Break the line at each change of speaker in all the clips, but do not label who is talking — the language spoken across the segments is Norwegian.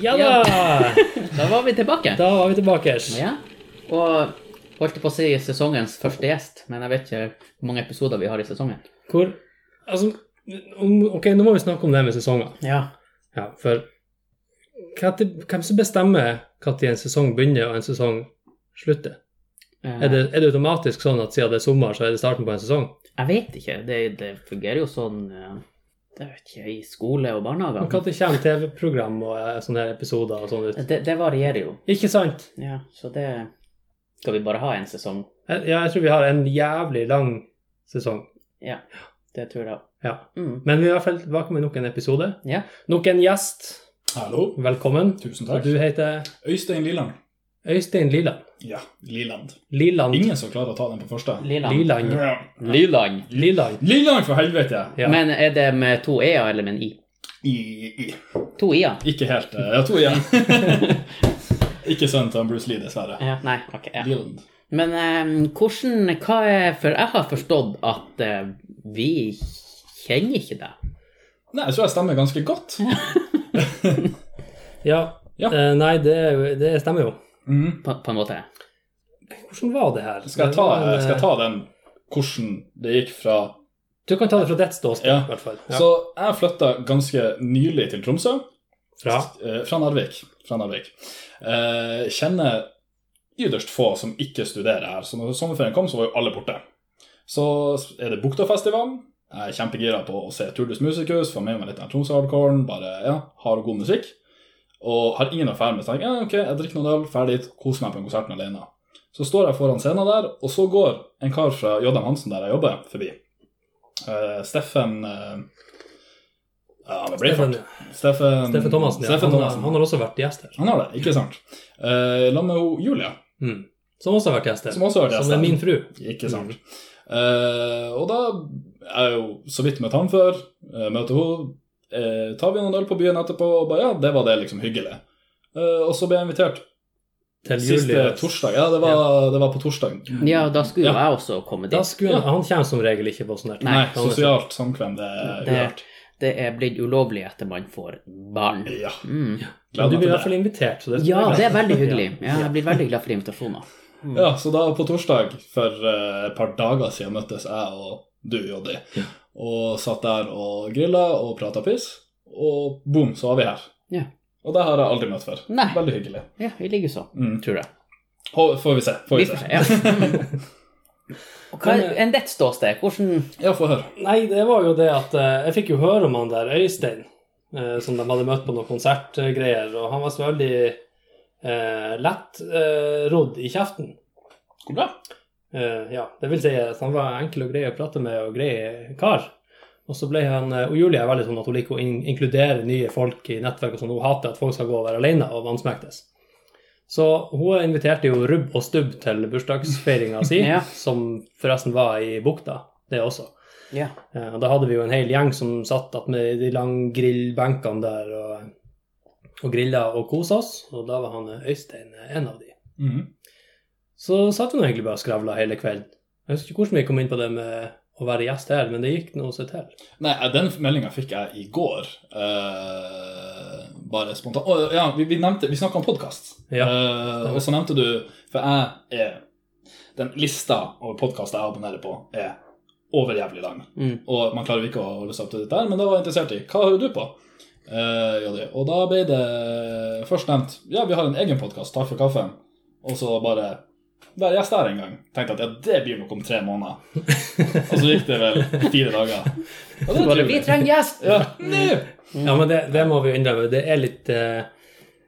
Ja da!
Da var vi tilbake.
Da var vi tilbake.
Ja. Og holdt på å si sesongens første gjest, men jeg vet ikke hvor mange episoder vi har i sesongen.
Hvor Altså, om, ok, nå må vi snakke om det med sesonger.
Ja.
Ja, for hva til- hvem som bestemmer når en sesong begynner og en sesong slutter?
Eh,
Er det, er det automatisk sånn at siden det er sommer, så er det starten på en sesong?
Jeg vet ikke. Det, det fungerer jo sånn eh, det vet ikke, i skole
Men
og barnehager.
Når kommer TV-program og eh, sånne her episoder og sånn ut?
Det, det varierer jo.
Ikke sant?
Ja, så det skal vi bare ha en sesong.
Jeg- Eh, Ja, jeg tror vi har en jævlig lang sesong.
Ja, det tror jeg.
Ja.
Mm.
Men vi er i hvert fall tilbake med nok en episode.
Ja.
Nok en gjest.
Hallo.
Velkommen.
Tusen
Og
takk.
du heter
Øystein Liland.
Øystein Liland.
Ja, Liland.
Liland.
Ingen som klarer å ta den på første.
Liland.
Liland.
Ja.
Liland.
Liland.
Liland, for helvete!
Ja.
Men er det med to e-er eller med en i?
I, i.
To i-er?
Ikke helt. eh, Jeg tror igjen. Ikke sønnen til han Bruce Lee, dessverre.
Ja. Nei, ok. Ja.
Liland.
Men eh, hvordan Hva er For jeg har forstått at eh, vi kjenner ikke deg.
Nei, jeg tror jeg stemmer ganske godt.
Ja.
Ja.
Eh, nei, det, er jo- det stemmer jo.
Mm.
På, på en måte.
Hvordan var det her?
Skal, jeg
Det
ta,
var en, eh,
skal jeg ta den hvordan det gikk fra
Du kan ta det fra ditt ståsted,
Ja.
i hvert fall.
Så jeg flytta ganske nylig til Tromsø.
Fra?
Eh, fra Narvik. Fra Narvik. Eh, kjenner ytterst få som ikke studerer her. Så når sommerferien kom, så var jo alle borte. Så er det Buktafestivalen. Jeg er kjempegira på å se Turdus Musikus, få med meg litt av Tromsø-hardcoren. Bare ja, har god musikk. Og har ingen affære med seg. Ja, ok, jeg drikker noen øl, ferdig, koser meg på den konserten alene. Så står jeg foran scenen der, og så går en kar fra J.M. Hansen, der jeg jobber, forbi. Eh, Steffen eh, ja, han er Braveheart. Steffen,
Steffen Thomassen. Ja.
Steffen
han,
Thomassen.
han har også vært gjest her.
Han har det, ikke sant? Eh, la meg jo Julia,
Mm. Som også har vært gjest her.
som også har det.
Som er min fru.
Ikke sant. Eh, og da er jeg jo så vidt møtt han før, eh, møter hun, eh, tar vi noen øl på byen etterpå, og bare ja, det var det liksom hyggelig. Eh, og så ble jeg invitert
Til
siste
Julie.
torsdag, ja, det var, det var på torsdag.
Ja, da skulle jo
Ja.
jeg også komme
Da
dit.
skulle han, han kommer som regel ikke på sånn her.
Nei,
Han er-
sosialt samkvem, det er
Det,
uhørt.
det er blitt ulovlig etter man får barn.
Ja,
Mm.
Men
gleder
du
meg
blir i hvert
til
fall
det.
invitert. Så det
Ja, det er veldig hyggelig.
Ja.
Ja, jeg blir veldig glad for invitasjoner. Mm.
Ja, så da på torsdag for eh, et par dager siden møttes jeg og du, Joddi, og satt der og grilla og prata piss, og boom, så var vi her.
Ja.
Og det har jeg aldri møtt før.
Nei.
Veldig hyggelig.
Ja, i like så,
Mm.
sånn, tror jeg.
Hå- Får vi se. Får
Vi
vi
får
se.
se, ja. Og Hva er
eh,
enn ditt ståsted? Hvordan
Ja, få høre.
Nei, det var jo det at eh, jeg fikk jo høre om han der Øystein, eh, som de hadde møtt på noen konsertgreier, og han var så veldig eh, lett eh, rodd i kjeften.
Går bra.
Eh, ja, det vil si at han var enkel og grei å prate med og grei kar. Og så ble han, eh, og Julie er veldig sånn at hun liker å in inkludere nye folk i nettverk og sånn. Hun hater at folk skal gå og være alene og vansmektes. Så hun inviterte jo Rubb og Stubb til bursdagsfeiringa si,
Ja.
som forresten var i bukta, det også.
Ja.
Eh, Og da hadde vi jo en hel gjeng som satt at med de lange grillbenkene der og, og grilla og kosa oss, og da var han eh, Øystein eh, en av de.
Mhm.
Så satt vi nå egentlig bare og skravla hele kvelden. Jeg husker ikke hvordan vi kom inn på det med å være gjest her, men det gikk nå seg til.
Nei, eh, den meldinga fikk jeg i går. eh, bare spontant. Å, ja, vi, vi, nevnte- vi snakka om podkast,
Ja,
og så nevnte du For jeg er Den lista over podkaster jeg abonnerer på, er overjævlig lang.
Mm.
Og man klarer jo ikke å holde seg opp til dette, her, men da var jeg interessert i hva hører du på? Eh, Joddi? og da ble det først nevnt ja, vi har en egen podkast, Takk for kaffen. Og så bare være gjest der en gang. Tenkte at ja, det blir nok om tre måneder. og så gikk det vel fire dager. Og det er
Vi
trivelig.
trenger gjest!
Ja, nå!
Ja, men det, det må vi innrømme. Det er litt eh,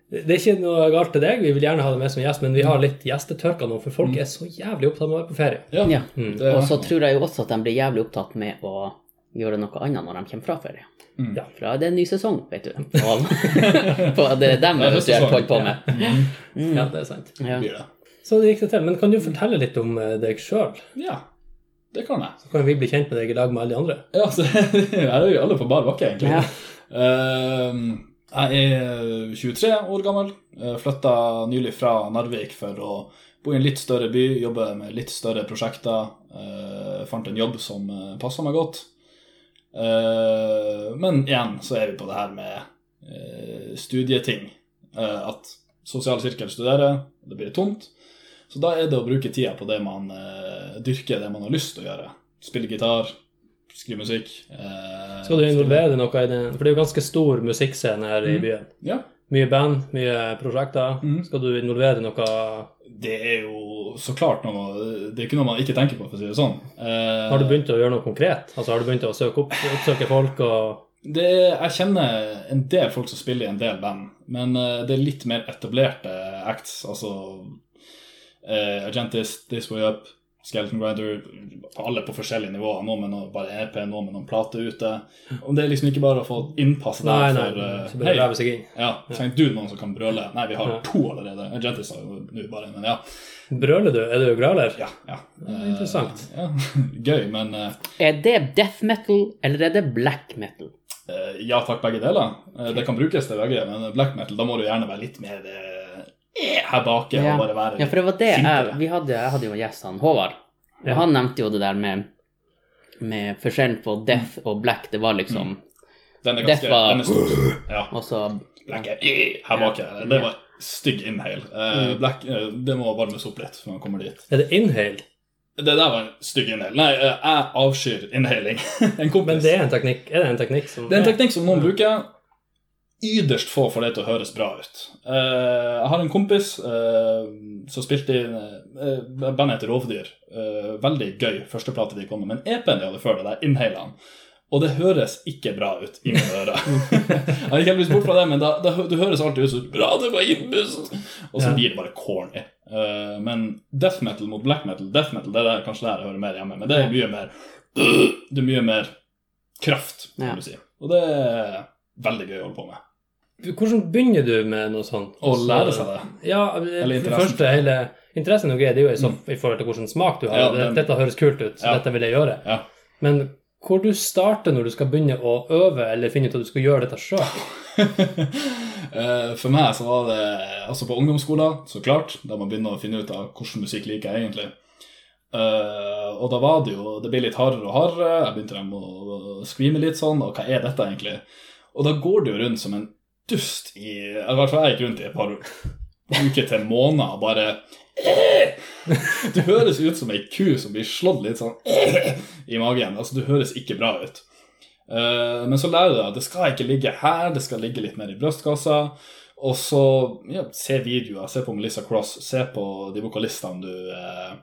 Det er ikke noe galt til deg, vi vil gjerne ha deg med som gjest, men vi har litt gjestetørka nå, for folk er så jævlig opptatt med å være på ferie.
Ja,
Ja.
Mm.
det er-
Og så tror jeg jo også at de blir jævlig opptatt med å gjøre noe annet når de kommer fra ferie.
Mm.
Ja.
For da er det en ny sesong, vet du. Og, for det er dem
Det er
jeg
sesong.
holder på med. Mm.
Ja, det er sant.
Ja.
blir det.
Så det gikk det til. Men kan du fortelle litt om eh, deg sjøl?
Ja, det kan jeg.
Så kan vi bli kjent med deg i lag med alle de andre.
Ja, så her er jo alle på bar bakke, egentlig.
Ja.
Ehm, jeg er 23 år gammel. Flytta nylig fra Narvik for å bo i en litt større by, jobbe med litt større prosjekter. eh, fant en jobb som uh, passa meg godt. Eh, men igjen så er vi på det her med eh, studieting. eh, at sosial sirkel studerer, det blir tomt. Så da er det å bruke tida på det man eh, dyrker, det man har lyst til å gjøre. Spille gitar, skrive musikk. eh,
Skal du
spille-
involvere deg noe i den? For det er jo ganske stor musikkscene her i
Mhm.
byen.
Ja.
Mye band, mye prosjekter.
Mhm.
Skal du involvere deg noe
Det er jo så klart noe Det er ikke noe man ikke tenker på, for å si det sånn. Eh,
Har du begynt å gjøre noe konkret? Altså Har du begynt å søke opp, oppsøke folk og
Det, jeg kjenner en del folk som spiller i en del band, men eh, det er litt mer etablerte acts. Altså eh, Agentis, This Way Up, Skeleton Grinder Alle på forskjellige nivåer. Noen med noe, bare EP, noen med noen plate ute. Og det er liksom ikke bare å få innpasset
Nei,
der
nei.
for eh,
Så bør du
hei,
leve seg inn.
ja, trenger du noen som kan brøle? Nei, vi har
Ja.
to allerede. Agentis har jo nå bare en, men ja.
Brøler du? Er du grøler?
ja, ja.
Ja, interessant.
Eh, ja. Gøy, men eh,
Er det death metal, eller er det black metal?
Eh, Ja takk, begge deler. Eh, Det kan brukes til begge, men black metal, da må du gjerne være litt mer eh, her bake.
Ja.
og bare være
Ja, for det var det jeg,
flinkere.
vi hadde, jeg hadde jo en gjest, han Håvard. Og
Ja.
han nevnte jo det der med, med forskjellen på death og black. Det var liksom
Den er ganske
det var-
den er stor. Ja,
Og så
black er eh, her bake. Det var stygg inhale. Eh,
Mm.
Black, eh, det må varmes opp litt før man kommer dit.
Er det inhale?
Det der var en stygg inhale. Nei, eh, jeg avskyr inhaling. en kompis.
Men det er en teknikk, er det en teknikk som
Det er en teknikk som noen bruker. Ytterst få får det til å høres bra ut. Eh, jeg har en kompis eh, som spilte i uh, bandet heter Rovdyr. Eh, veldig gøy førsteplate de kom med, men EP-en de hadde før det, der inhala han. Og det høres ikke bra ut i mine ører. jeg har ikke heldigvis bort fra det, men da, da, hø- det høres alltid ut som bra, det var innbussen. Og så
Ja.
blir det bare corny. Eh, men death metal mot black metal, death metal det er der, kanskje der jeg hører mer hjemme, men det er mye mer Det er mye mer kraft, kan
Ja.
du si. Og det er veldig gøy å holde på med.
Hvordan begynner du med noe sånt?
Å lære seg det.
Ja, for det
interessen. Mm.
første hele interessen og greia, det er jo i, så, i forhold til hvilken smak du har.
Ja,
Det-
den-
Dette høres kult ut, så
Ja.
dette vil jeg gjøre.
Ja.
Men hvor du starter når du skal begynne å øve, eller finne ut at du skal gjøre dette sjøl?
Eh, For meg så var det altså på ungdomsskolen, så klart, da man begynner å finne ut av hvordan musikk liker jeg egentlig. Eh, og da var det jo Det ble litt hardere og hardere. Jeg begynte dem å screame litt sånn, og hva er dette egentlig? Og da går du jo rundt som en dust i I hvert fall jeg gikk rundt i et par uker til måneder og bare «Eh!» Du høres ut som ei ku som blir slått litt sånn «Eh!» i magen. Altså, du høres ikke bra ut. Eh, men så lærer du deg at det skal ikke ligge her, det skal ligge litt mer i brystkassa. Og så ja, se videoer, se på Melissa Cross, se på de vokalistene du eh,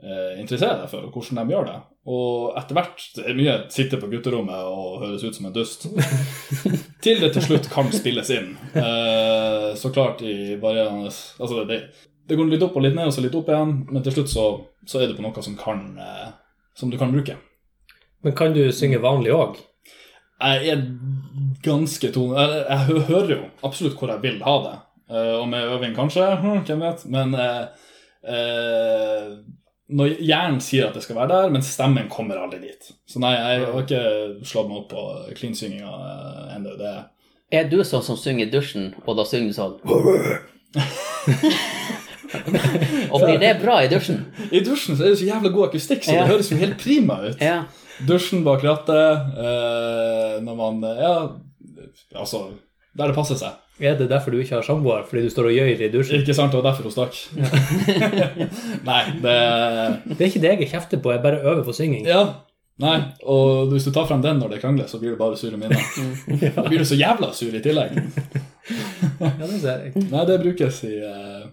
eh, interesserer deg for, og hvordan de gjør det. Og etter hvert det er mye sitte på gutterommet og høres ut som en dust. til det til slutt kan spilles inn. Eh, så klart i varierende Altså, det, det går litt opp og litt ned, og så litt opp igjen, men til slutt så, så er det på noe som, kan, eh, som du kan bruke.
Men kan du synge vanlig òg?
Jeg er ganske tone... Jeg, jeg hø- hører jo absolutt hvor jeg vil ha det. Eh, og med øving kanskje, hm, hvem vet. Men eh, eh, når hjernen sier at det skal være der, men stemmen kommer aldri dit. Så nei, jeg har ikke slått meg opp på clean-synginga eh, ennå. Det
er du sånn som synger i dusjen, og da synger du sånn Og blir det bra i dusjen?
I dusjen så er det så jævla god akustikk, så
Ja.
det høres jo helt prima ut.
Ja.
Dusjen bak rattet, eh, når man Ja, altså Der det passer seg.
Er det derfor du ikke har samboer, fordi du står og gjør i dusjen?
Ikke sant? Det var derfor hun stakk. nei, det
Det er ikke det jeg kjefter på, jeg bare øver på synging.
Ja. Nei, og hvis du tar frem den når det krangler, så blir det bare sure minner. Da blir du så jævla sur i tillegg.
Ja, det ser jeg.
Nei, det brukes i, eh,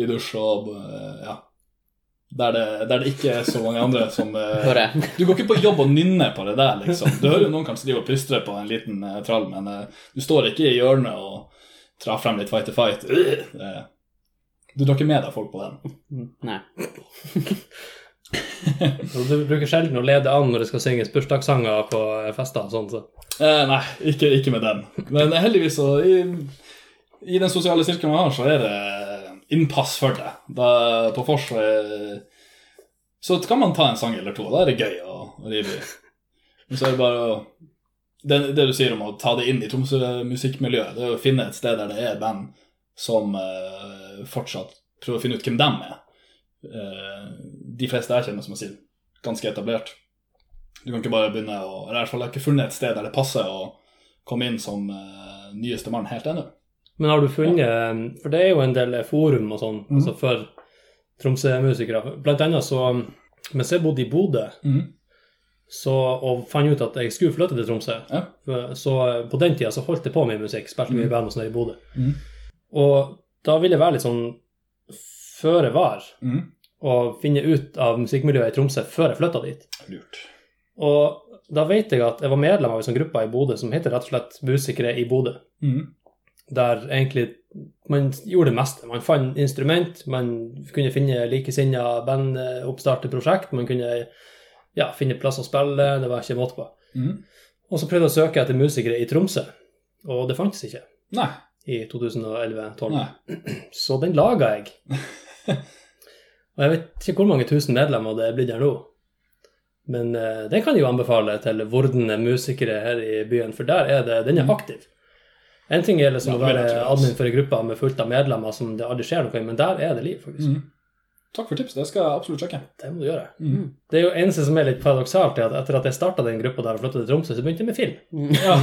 i dusj og eh, ja. Der det, der det ikke er så mange andre som eh,
Hører.
Du går ikke på jobb og nynner på det der, liksom. Du hører jo noen kanskje drive og plystre på en liten eh, trall, men eh, du står ikke i hjørnet og drar frem litt fight to fight. Øh, det- Du drar ikke med deg folk på den.
Nei.
Og Du bruker sjelden å lede an når det skal synges bursdagssanger på fester og sånn. Så.
Eh, nei, ikke, ikke med den. Men heldigvis så i, I den sosiale sirkelen man har, så er det innpass for det. Da, på vors så er- Så kan man ta en sang eller to, og da er det gøy å å rive i. Men så er det bare å det, det du sier om å ta det inn i Tromsø musikkmiljøet, det er å finne et sted der det er band som eh, fortsatt prøver å finne ut hvem dem er. Eh, de fleste jeg kjenner, som jeg sier, ganske etablert. Du kan ikke bare begynne å Eller i hvert fall jeg har ikke funnet et sted der det passer å komme inn som eh, nyeste mann helt ennå.
Men har du funnet For det er jo en del forum og sånn
Mhm.
altså for Tromsø-musikere. Blant annet så Mens jeg bodde i Bodø
Mhm.
så, og fant ut at jeg skulle flytte til Tromsø,
Ja.
for- så eh, på den tida så holdt jeg på med musikk, spilte mye i
Mhm.
band og sånn her i Bodø.
Mhm.
Og da vil jeg være litt sånn føre var
Mhm.
og finne ut av musikkmiljøet i Tromsø før jeg flytta dit.
Lurt.
Og da vet jeg at jeg var medlem av en sånn gruppe i Bodø som heter rett og slett Musikere i Bodø.
Mhm.
Der egentlig man gjorde det meste. Man fant instrument, man kunne finne likesinnede band, eh, oppstarte prosjekt, man kunne ja, finne plass å spille, det var ikke måte på.
Mhm.
Og så prøvde jeg å søke etter musikere i Tromsø, og det fantes ikke
Nei.
i 2011-2012.
Nei.
Så den laga jeg. Og jeg vet ikke hvor mange tusen medlemmer det er blitt her nå. Men eh, det kan jeg jo anbefale til vordende musikere her i byen, for der er det, den er aktiv. En ting er liksom
Ja,
å
det vil
være
jeg tro, altså.
admin for ei gruppe med fullt av medlemmer som det aldri skjer noe i, men der er det liv, faktisk.
Mhm. Takk for tipset. Det skal jeg absolutt sjekke.
Det må du gjøre.
Mhm.
Det er jo eneste som er litt paradoksalt, er at etter at jeg starta den gruppa der og flytta til Tromsø, så begynte jeg med film.
Ja.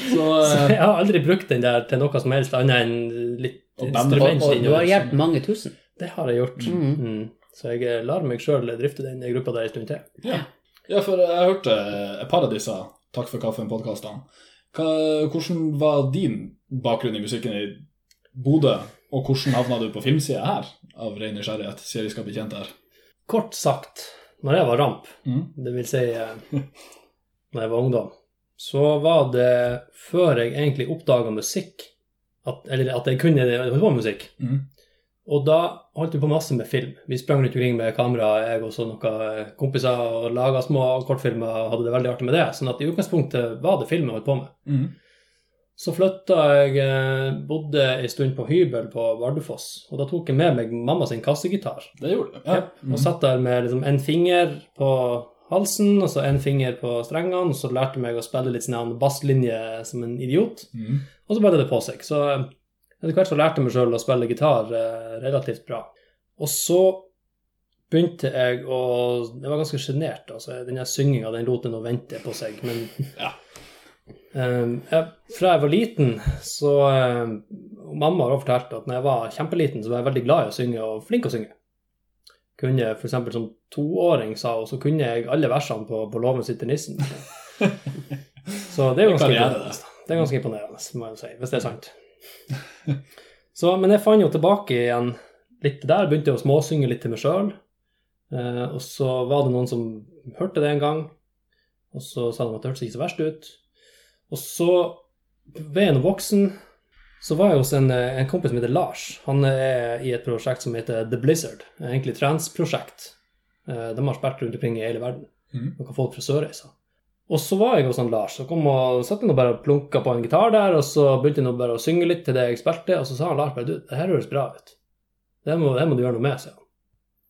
Så,
Så
eh,
jeg har aldri brukt den der til noe som helst annet enn litt
Og bandet
Og,
instrument.
og du
innover.
har hjulpet mange tusen.
Det har jeg gjort.
Mhm.
Mm. Så jeg eh, lar meg sjøl drifte den gruppa der en stund til.
ja. ja, for jeg hørte et par av disse Takk for kaffen-podkastene. Hvordan var din bakgrunn i musikken i Bodø, og hvordan havna du på filmsida her? Av ren nysgjerrighet, siden vi skal bli kjent her.
Kort sagt, når jeg var ramp,
Mhm.
det vil si eh, når jeg var ungdom, så var det før jeg egentlig oppdaga musikk, at, eller at jeg kunne holde på med musikk.
Mhm.
Og da holdt vi på masse med film. Vi sprang rundt omkring med kamera, jeg og så noen eh, kompiser, og laga små kortfilmer og hadde det veldig artig med det. Sånn at i utgangspunktet var det film jeg holdt på med.
Mhm.
Så flytta jeg, eh, bodde ei stund på hybel på Bardufoss, og da tok jeg med meg mamma sin kassegitar.
Det gjorde du.
Ja.
Ja. Mhm.
Og satt der med liksom en finger på halsen og så en finger på strengene, og så lærte jeg meg å spille litt sånn her basslinje som en idiot,
Mhm.
og så bare det på seg. Så eh, etter hvert så lærte jeg meg sjøl å spille gitar eh, relativt bra. Og så begynte jeg å Jeg var ganske sjenert, altså. Den synginga, den lot en å vente på seg, men
Ja.
Um, jeg, fra jeg var liten, så um, Mamma har også fortalt at når jeg var kjempeliten, så var jeg veldig glad i å synge og flink å synge. Kunne f.eks. som toåring, sa hun, så kunne jeg alle versene på, på 'Låven sitter nissen'. Så det er jo
Det kan
ganske
jeg, det.
imponerende. Det er ganske imponerende, må jeg jo si, hvis det er sant. Så, men jeg fant jo tilbake igjen litt der. Begynte jeg å småsynge litt til meg sjøl. Eh, og så var det noen som hørte det en gang, og så sa de at det hørtes ikke så verst ut. Og så, ved en voksen, så var jeg hos en, eh, en kompis som heter Lars. Han eh, er i et prosjekt som heter The Blizzard. Egentlig transprosjekt. Eh, De har spilt rundt omkring i hele verden.
Mhm.
Noen folk fra Sørreisa. Og så var jeg hos han Lars, og kom og satt han og bare plunka på en gitar der, og så begynte han å bare å synge litt til det jeg spilte, og så sa han Lars bare du, det her høres bra ut. Det må, det må du gjøre noe med, sa han.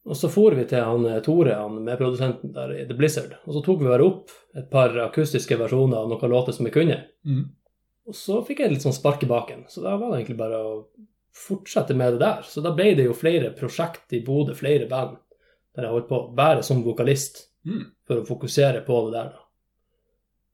Og så for vi til han eh, Tore, han medprodusenten der i The Blizzard, og så tok vi bare opp et par akustiske versjoner av noen låter som vi kunne.
Mhm.
Og så fikk jeg litt sånn spark i baken, så da var det egentlig bare å fortsette med det der. Så da ble det jo flere prosjekt i Bodø, flere band, der jeg holdt på bare som vokalist,
Mm.
for å fokusere på det der, da.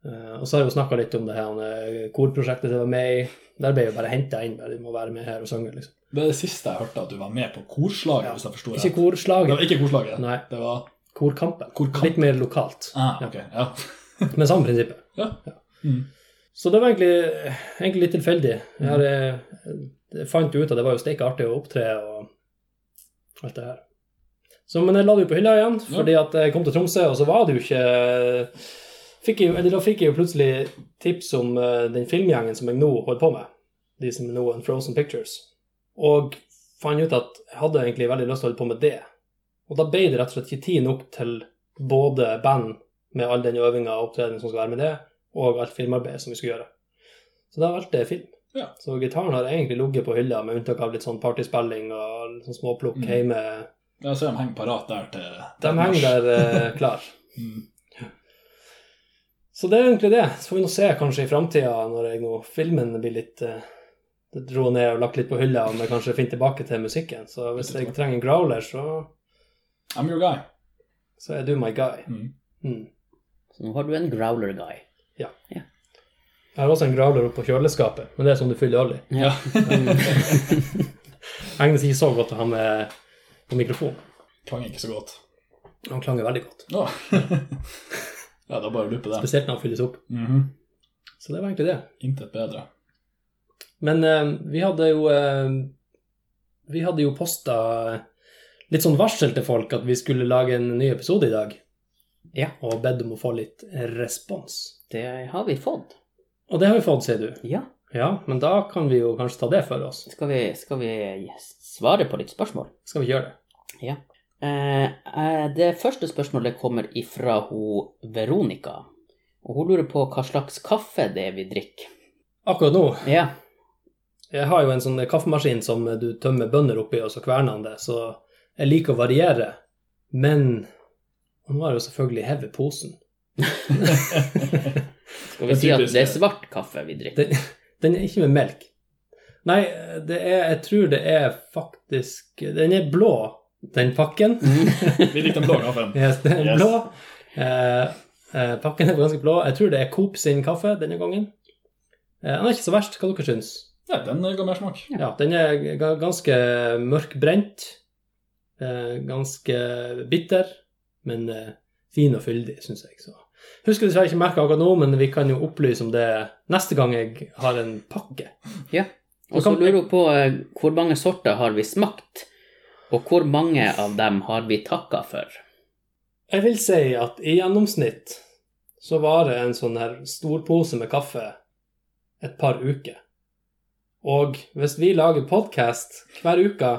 Eh, og så har jeg jo snakka litt om det her eh, korprosjektet jeg var med i. Der ble jeg jo bare henta inn, bare du må være med her og synge, liksom.
Det er det siste jeg hørte, at du var med på korslaget, hvis jeg forstod
Ikke
det. Det var
korslaget,
ikke korslaget.
nei,
Det var
korkampen.
korkamp.
Litt mer lokalt,
Ah,
Ja.
ok. Ja.
men samme prinsippet.
Mhm.
Så det var egentlig, egentlig litt tilfeldig. Jeg, har, eh, jeg fant jo ut at det var jo steike artig å opptre og alt det her. Så, men jeg la det jo på hylla igjen,
Ja.
fordi at jeg kom til Tromsø, og så var det jo ikke fikk jeg, jo- eller Da fikk jeg jo plutselig tips om eh, den filmgjengen som jeg nå holder på med, de som er nå en Frozen Pictures, og fant ut at jeg hadde egentlig veldig lyst til å holde på med det. Og da ble det rett og slett ikke tid nok til både band med all den øvinga og opptredenen som skal være med det, og alt filmarbeidet som vi skulle gjøre. Så da valgte jeg film.
Ja.
Så gitaren har egentlig ligget på hylla, med unntak av litt sånn partyspilling og litt sånn småplukk
Mm.
hjemme.
Jeg ser de henger parat der til
De henger der eh, klar.
Mhm.
Så det er egentlig det. Så får vi nå se kanskje i framtida, når jeg nå filmen blir litt eh, dro ned og lagt litt på hylla, om jeg kanskje finner tilbake til musikken. Så hvis jeg trenger en growler, så,
I'm your guy.
så er du my guy.
Mhm.
Mm.
Så nå har du en growler guy.
Jeg har også en gravler oppe på kjøleskapet, men det er sånn du fyller øl i.
Ja.
Egnes ikke så godt til han med på mikrofon.
Klang ikke så godt.
Han klanger veldig godt,
Å. ja, da bare looper det.
spesielt når han fylles opp.
Mhm.
Så det var egentlig det.
Intet bedre.
Men eh, vi hadde jo eh, Vi hadde jo posta litt sånn varsel til folk at vi skulle lage en ny episode i dag,
Ja.
og bedt om å få litt respons.
Det har vi fått.
Og det har vi fått, sier du.
Ja.
Ja, men da kan vi jo kanskje ta det for oss.
Skal vi, skal vi svare på ditt spørsmål?
Skal vi gjøre det?
Eh, eh, det første spørsmålet kommer ifra hun Veronica. Og hun lurer på hva slags kaffe det er vi drikker.
Akkurat nå
Ja.
Jeg har jo en sånn kaffemaskin som du tømmer bønner oppi, og så kverner han det. Så jeg liker å variere. Men og nå har jeg jo selvfølgelig hevet posen.
Skal vi
Det er
si at
typisk
det er
det.
svart kaffe vi drikker?
Det- Den er ikke med melk. Nei, det er, jeg tror det er faktisk Den er blå, den pakken.
Vi likte den blå kaffen.
Yes, den er
Yes.
blå. Eh, eh, pakken er ganske blå. Jeg tror det er Coop sin kaffe denne gangen. Eh, den er ikke så verst. Hva dere syns
Ja, den eh, ga mersmak.
Ja, den er ga- ganske mørkbrent. Eh, ganske bitter, men eh, fin og fyldig, syns jeg. Så. Husker dessverre ikke merket akkurat nå, men vi kan jo opplyse om det neste gang jeg har en pakke.
Og så lurer hun på eh, hvor mange sorter har vi smakt, og hvor mange av dem har vi takka for?
Jeg vil si at i gjennomsnitt så varer en sånn her stor pose med kaffe et par uker. Og hvis vi lager podkast hver uke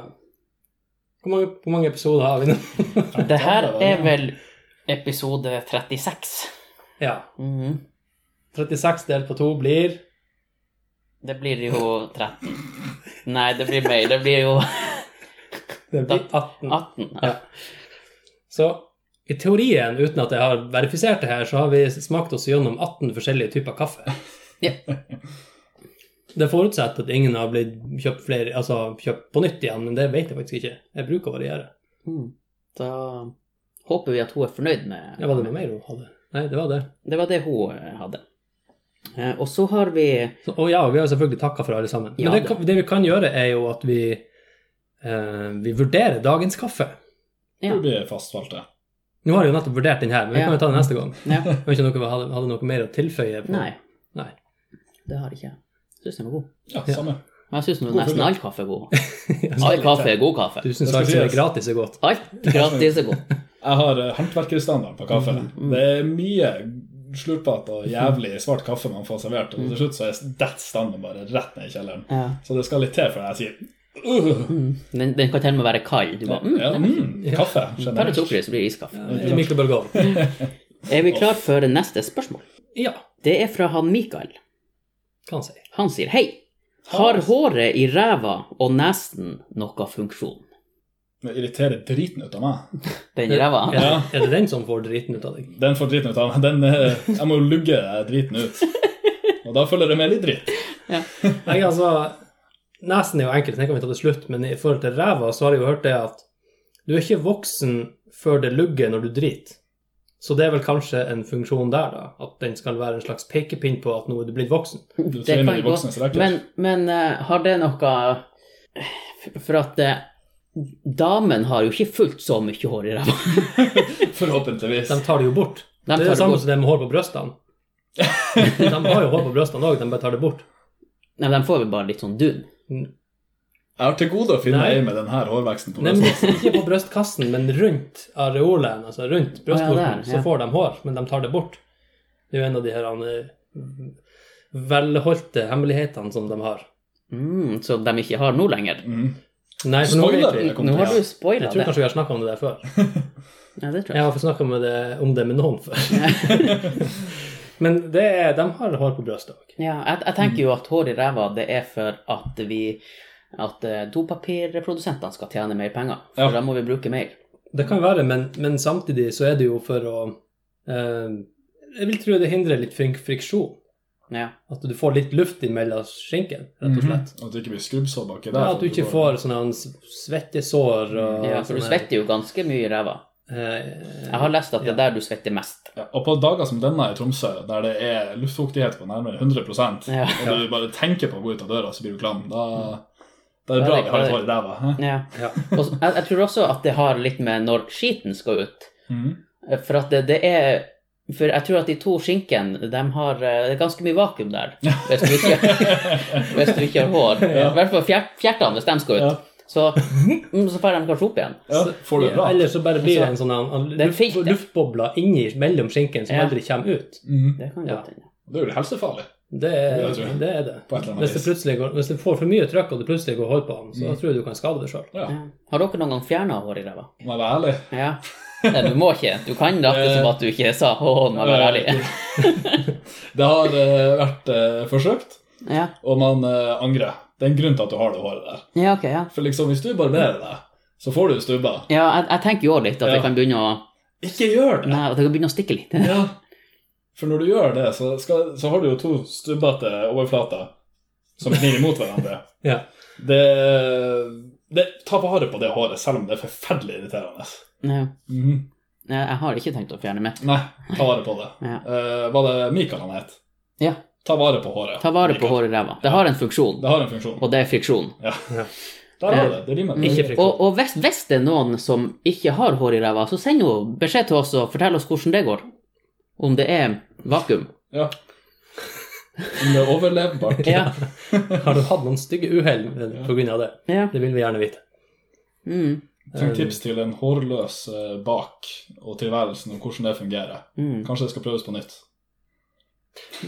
hvor mange, hvor mange episoder har vi nå?
Det her er vel episode 36.
Ja.
Mhm.
36 delt på to blir
Det blir jo 13. Nei, det blir mer. Det blir jo
Det blir 18.
18.
Ja. Så i teorien, uten at jeg har verifisert det her, så har vi smakt oss gjennom 18 forskjellige typer kaffe.
Ja.
Det forutsetter at ingen har blitt kjøpt, flere, altså, kjøpt på nytt igjen, men det vet jeg faktisk ikke. Jeg bruker å variere.
Mm. Da håper vi at hun er fornøyd med
Ja, var det noe mer hun hadde? Nei, det var det.
Det var det hun eh, hadde. Eh, Og så har vi
Så, og ja, vi har selvfølgelig takka for alle sammen.
Ja,
Men det,
det.
kan- det vi kan gjøre, er jo at vi, eh, vi vurderer dagens kaffe.
Ja.
Du blir fastfalte.
Nå har jeg jo nettopp vurdert den her, men vi
Ja.
kan jo ta den neste gang.
Ja.
Jeg vet ikke om dere hadde, hadde noe mer å tilføye? på-
Nei.
Nei.
Det har ikke jeg. Syns den var god.
Ja,
Ja.
samme.
Men jeg syns
God
nesten
fylle.
all kaffe er god. All kaffe er god kaffe.
Du syns
Det skal
alt som er
sies.
gratis, er godt.
Alt gratis er god.
Jeg har eh, håndverkerstandard på kaffe.
Mm,
Det er mye slurpete og jævlig svart kaffe man får servert,
Mm.
og til slutt så er that standard bare rett ned i kjelleren.
Ja.
Så det skal litt til før jeg sier «Ugh».
Mm. Den, den kan til og med være kald. Du bare mm,
ja, mm, kaffe.
Ta litt
Generelt.
sukker i, så blir det iskaffe.
I mikrobølgeovn.
Er vi klar for neste spørsmål?
Ja,
Det er fra han Mikael.
kan si.
Han sier hei. Har håret i ræva og nesen noe funksjon?
Det irriterer driten ut av meg.
Den ræva?
Er, det- er det den som får driten ut av deg?
Den får driten ut av meg. Den, eh, jeg må jo lugge driten ut. Og da følger det med litt dritt.
Nei, altså, Nesen er jo enkelt, den kan vi ta til slutt, men i forhold til ræva så har jeg jo hørt det at du er ikke voksen før det lugger når du driter. Så det er vel kanskje en funksjon der, da. At den skal være en slags pekepinn på at nå er du blitt voksen.
Du
Det
svinner
kan
i
gå.
voksnes rekker.
Men, men eh, har det noe f- For at eh, damen har jo ikke fullt så mye hår i ræva.
Forhåpentligvis.
De tar det jo bort.
De
det er
tar
det
det
samme
bort.
som det med hår på brystene. De har jo hår på brystene òg, de bare tar det bort.
Nei, de får vel bare litt sånn dun.
Jeg har til gode å finne
Nei.
ei med denne hårveksten. på
Nei, men
brystet.
ikke på brystkassen, men rundt areolaen, altså rundt brystvorten,
Å, ja, der, ja.
så får de hår, men de tar det bort. Det er jo en av de her eh, velholdte hemmelighetene som de har.
Mm, så de ikke har nå lenger.
Mm.
Nei, for nå vet
Spoiler!
vi
Jeg kom
Nå har
til-
du spoila
Jeg tror
det.
kanskje vi har snakka om det der før.
Ja, det
Jeg
tror jeg.
har snakka om det med noen før. Men det er, de har hår på brystet òg.
Ja, jeg, jeg tenker jo at hår i ræva, det er for at vi At eh, dopapirprodusentene skal tjene mer penger. For
Ja.
da må vi bruke mer.
Det kan være, men, men samtidig så er det jo for å eh, Jeg vil tro det hindrer litt frik- friksjon.
Ja.
At du får litt luft imellom skinken, rett og slett.
Mhm. At du ikke blir skrubbsår baki der.
Ja, at du ikke
går-
får sånne hans svettesår og
Mm, ja, for du
sånne-
svetter jo ganske mye i ræva.
Eh,
Jeg har lest at det er der du svetter mest.
Ja, og på dager som denne i Tromsø, der det er luftfuktighet på nærmere 100
Ja.
og du bare tenker på å gå ut av døra, så blir du klam, da, da
Da
er
er
det bra
det
vi har et
klar.
hår i ræva. hæ?
Ja.
Ja.
Og så- jeg, jeg tror også at det har litt med når skiten skal ut.
Mhm.
For at det, det er For jeg tror at de to skinkene, de har eh, Det er ganske mye vakuum der. Hvis du ikke, hvis du ikke har hår. I hvert fall fjert, fjertene, hvis de skal ut.
Ja.
Så, mm, så får de kanskje opp igjen.
Ja, får du det bra?
Ellers så bare blir det en sånn
er
luft,
fint, Altså, det.
luftboble inni mellom skinken som
Ja.
aldri kommer ut.
Mhm.
Det kan
Ja.
godt hende.
Det er jo helsefarlig.
Det er
Ja, jeg
det.
tror jeg.
Er det.
På et eller annet
Hvis, det
vis. Mm.
plutselig går, hvis det får for mye trykk, og du plutselig går hår på den, så tror jeg du kan skade deg sjøl.
Ja,
Ja. Har dere noen gang fjerna hår i ræva?
må jeg være ærlig.
Ja. Nei, du må ikke. Du kan rette som at du ikke sa 'Å, nå må jeg være ærlig'.
Det har eh, vært eh, forsøkt,
Ja,
og man eh, angrer. Det er en grunn til at du har det håret der.
ja ok, ja.
For liksom, hvis du barberer deg, så får du stubber.
Ja, jeg, jeg tenker jo også litt at det
Ja.
kan begynne å
Ikke gjør det!
Nei, at det kan begynne å stikke litt.
Ja. For når du gjør det, så, skal, så har du jo to stubbete overflater som knir imot hverandre.
Ja.
Det, det Ta vare på det håret, selv om det er forferdelig irriterende. Mhm.
Ja. Nei, Jeg har ikke tenkt å fjerne mitt.
Nei, ta vare på det.
Ja.
Eh, var det Mikael han het?
Ja.
Ta vare på håret.
Ta vare på
Mikael.
håret i ræva. Det har en funksjon,
Det har en funksjon.
og det er friksjon. Mm.
Ja.
Ja.
Der har du det. Det rimer.
Ikke friksjon.
Og, og hvis, hvis det er noen som ikke har hår i ræva, så send jo beskjed til oss og fortell oss hvordan det går. Om det er vakuum.
Ja. Om det er overlevbart.
Ja.
Har du hatt noen stygge uhell pga. det?
ja.
Det vil vi gjerne vite.
Mm.
Tenk tips til en hårløs eh, bak og tilværelsen og hvordan det fungerer.
Mm.
Kanskje det skal prøves på nytt.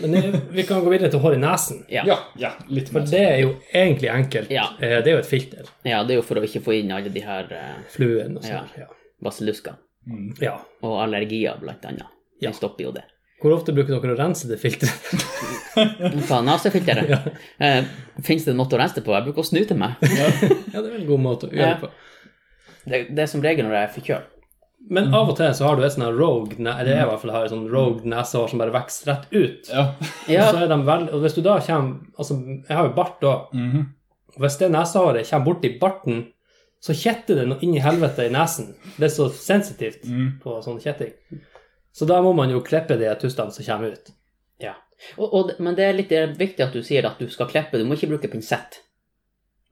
Men eh, vi kan gå videre til hår i nesen.
Ja.
Ja, ja litt
For
mer.
det er jo egentlig enkelt.
Ja.
Eh, Det er jo et filter.
ja, det er jo for å ikke få inn alle de her eh,
Fluen og sånn. Ja.
basilluskene.
Mm.
ja.
Og allergier, blant annet.
Ja.
De stopper jo det.
Hvor ofte bruker dere å rense det filteret?
Hva nazifilteret?
Ja.
Eh, Fins det en måte å rense det på? Jeg bruker å snute meg.
Ja, det er vel en god måte å gjøre
Ja.
det på.
Det, det er som regel når jeg er forkjølt.
Men av og til så har du et sånn her rogue, ne- eller jeg i hvert fall har et sånn rogue nesehår som bare vokser rett ut.
Ja.
Og
Ja,
så er de vel, og hvis du da kommer, altså jeg har jo bart da,
Mhm.
og hvis det nesehåret kommer borti barten, så kjetter det noe inn i helvete i nesen. Det er så sensitivt
Mm.
på sånn kjetting. Så da må man jo klippe de tustene som kommer ut.
Ja. Og, og, det- men det er litt det er viktig at du sier at du skal klippe, du må ikke bruke pinsett.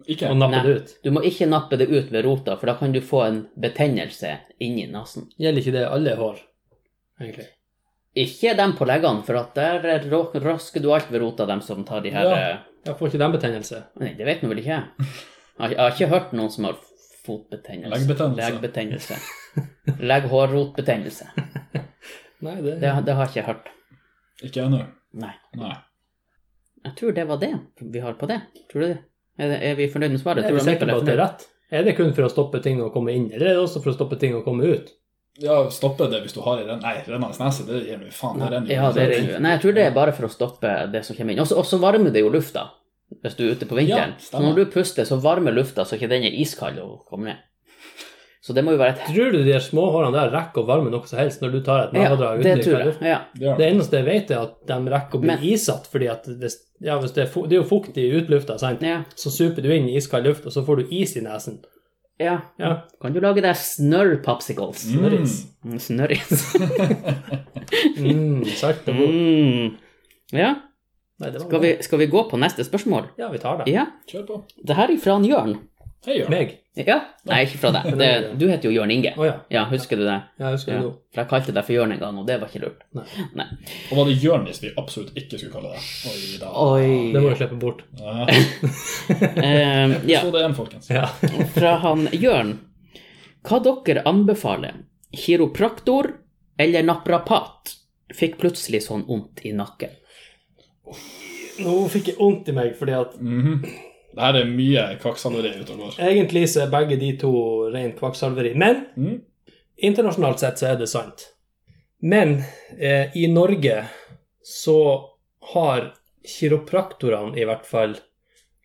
Ikke.
Og nappe
Nei.
det ut.
Du må ikke nappe det ut ved rota, for da kan du få en betennelse inni nesen.
Gjelder ikke det alle hår, egentlig?
Ikke dem på leggene, for at der rå- rasker du alt ved rota, dem som tar de her
Ja.
eh,
Jeg får ikke den betennelse.
Nei, det vet nå vel ikke jeg. Jeg har- Jeg har ikke hørt noen som har fotbetennelse.
Leggbetennelse.
Altså.
Leggbetennelse. Legghårrotbetennelse.
Nei, det,
Det, det har jeg ikke hørt.
Ikke ennå.
Nei.
Nei.
Jeg tror det var det vi har på det. Tror du det? Er, det, er vi fornøyd med svaret?
er
Tror
vi
du
sikre
Mikkel
på
er
at det er
fornøyd?
rett? Er det kun for å stoppe ting å komme inn, eller er det også for å stoppe ting å komme ut?
Ja, stoppe det hvis du har i renn... Nei, rennende nese, det gir meg faen. Det renner
Ja, det er,
Altså,
uansett.
nei, jeg tror det er bare for å stoppe det som kommer inn. Og så- Og så varmer det jo lufta hvis du er ute på vinteren.
Ja,
så
stemmer.
når du puster, så varmer lufta så ikke den er iskald og kommer ned. Så det må jo være et
Tror du de her småhårene der rekker å varme noe som helst når du tar et
Ja,
magedrag? uten
det
de
tror jeg.
klær?
Ja.
Det gjør
Det
det.
eneste jeg vet, er at de rekker å bli
Men-
isatt. fordi at hvis, ja, hvis det, er fu- det er jo fuktig i utlufta, sant?
Ja.
så super du inn i iskald luft, og så får du is i nesen.
ja.
Ja,
Kan du lage deg snørrpopsicles?
Mm.
Mm, Snørris.
mm, salt og god.
Mm. Ja.
Nei, det var
Skal vi, skal vi gå på neste spørsmål?
Ja, vi tar det.
Ja.
Kjør på.
Det her er fra en Jørn.
Hei, Jørn.
Meg?
Ja. Nei, ikke fra deg. Det, du heter jo Jørn Inge.
Å ja.
Ja, husker du det?
Jeg husker
Ja.
det nå.
For jeg kalte deg for Jørn en gang, og det var ikke lurt.
Nei.
Nei.
Og var det Jørn hvis vi absolutt ikke skulle kalle det? Oi, da.
Oi.
Det må vi slippe bort.
Ja.
Eh, ja,
Episode én, folkens.
Ja.
fra han Jørn. Hva dere anbefaler? Kiropraktor eller naprapat? Fikk plutselig sånn vondt i nakken.
Nå fikk jeg vondt i meg, fordi at
Mhm. Det her er mye kvakksalveri ute og går.
egentlig så er begge de to ren kvakksalveri. Men
Mm.
Internasjonalt sett så er det sant. Men eh, i Norge så har kiropraktorene i hvert fall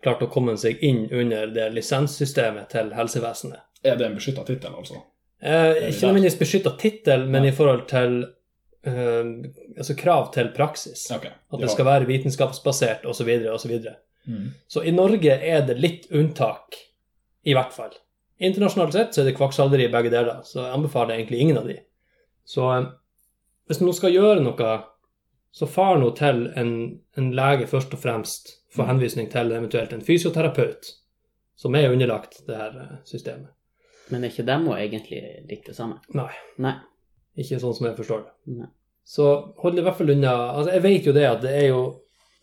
klart å komme seg inn under det lisenssystemet til helsevesenet.
Er det en beskytta tittel, altså?
Eh, ikke nødvendigvis beskytta tittel, men i forhold til eh, altså krav til praksis.
Ok.
At det skal være vitenskapsbasert osv. osv.
mm.
Så i Norge er det litt unntak, i hvert fall. Internasjonalt sett så er det kvakksalveri i begge deler, så jeg anbefaler egentlig ingen av de. Så eh, hvis noen skal gjøre noe, så far nå til en, en lege først og fremst for henvisning til eventuelt en fysioterapeut, som er underlagt det her eh, systemet.
Men er ikke dem òg egentlig litt det samme?
Nei.
Nei.
Ikke sånn som jeg forstår det.
Nei.
Så hold i hvert fall unna altså Jeg vet jo det at det er jo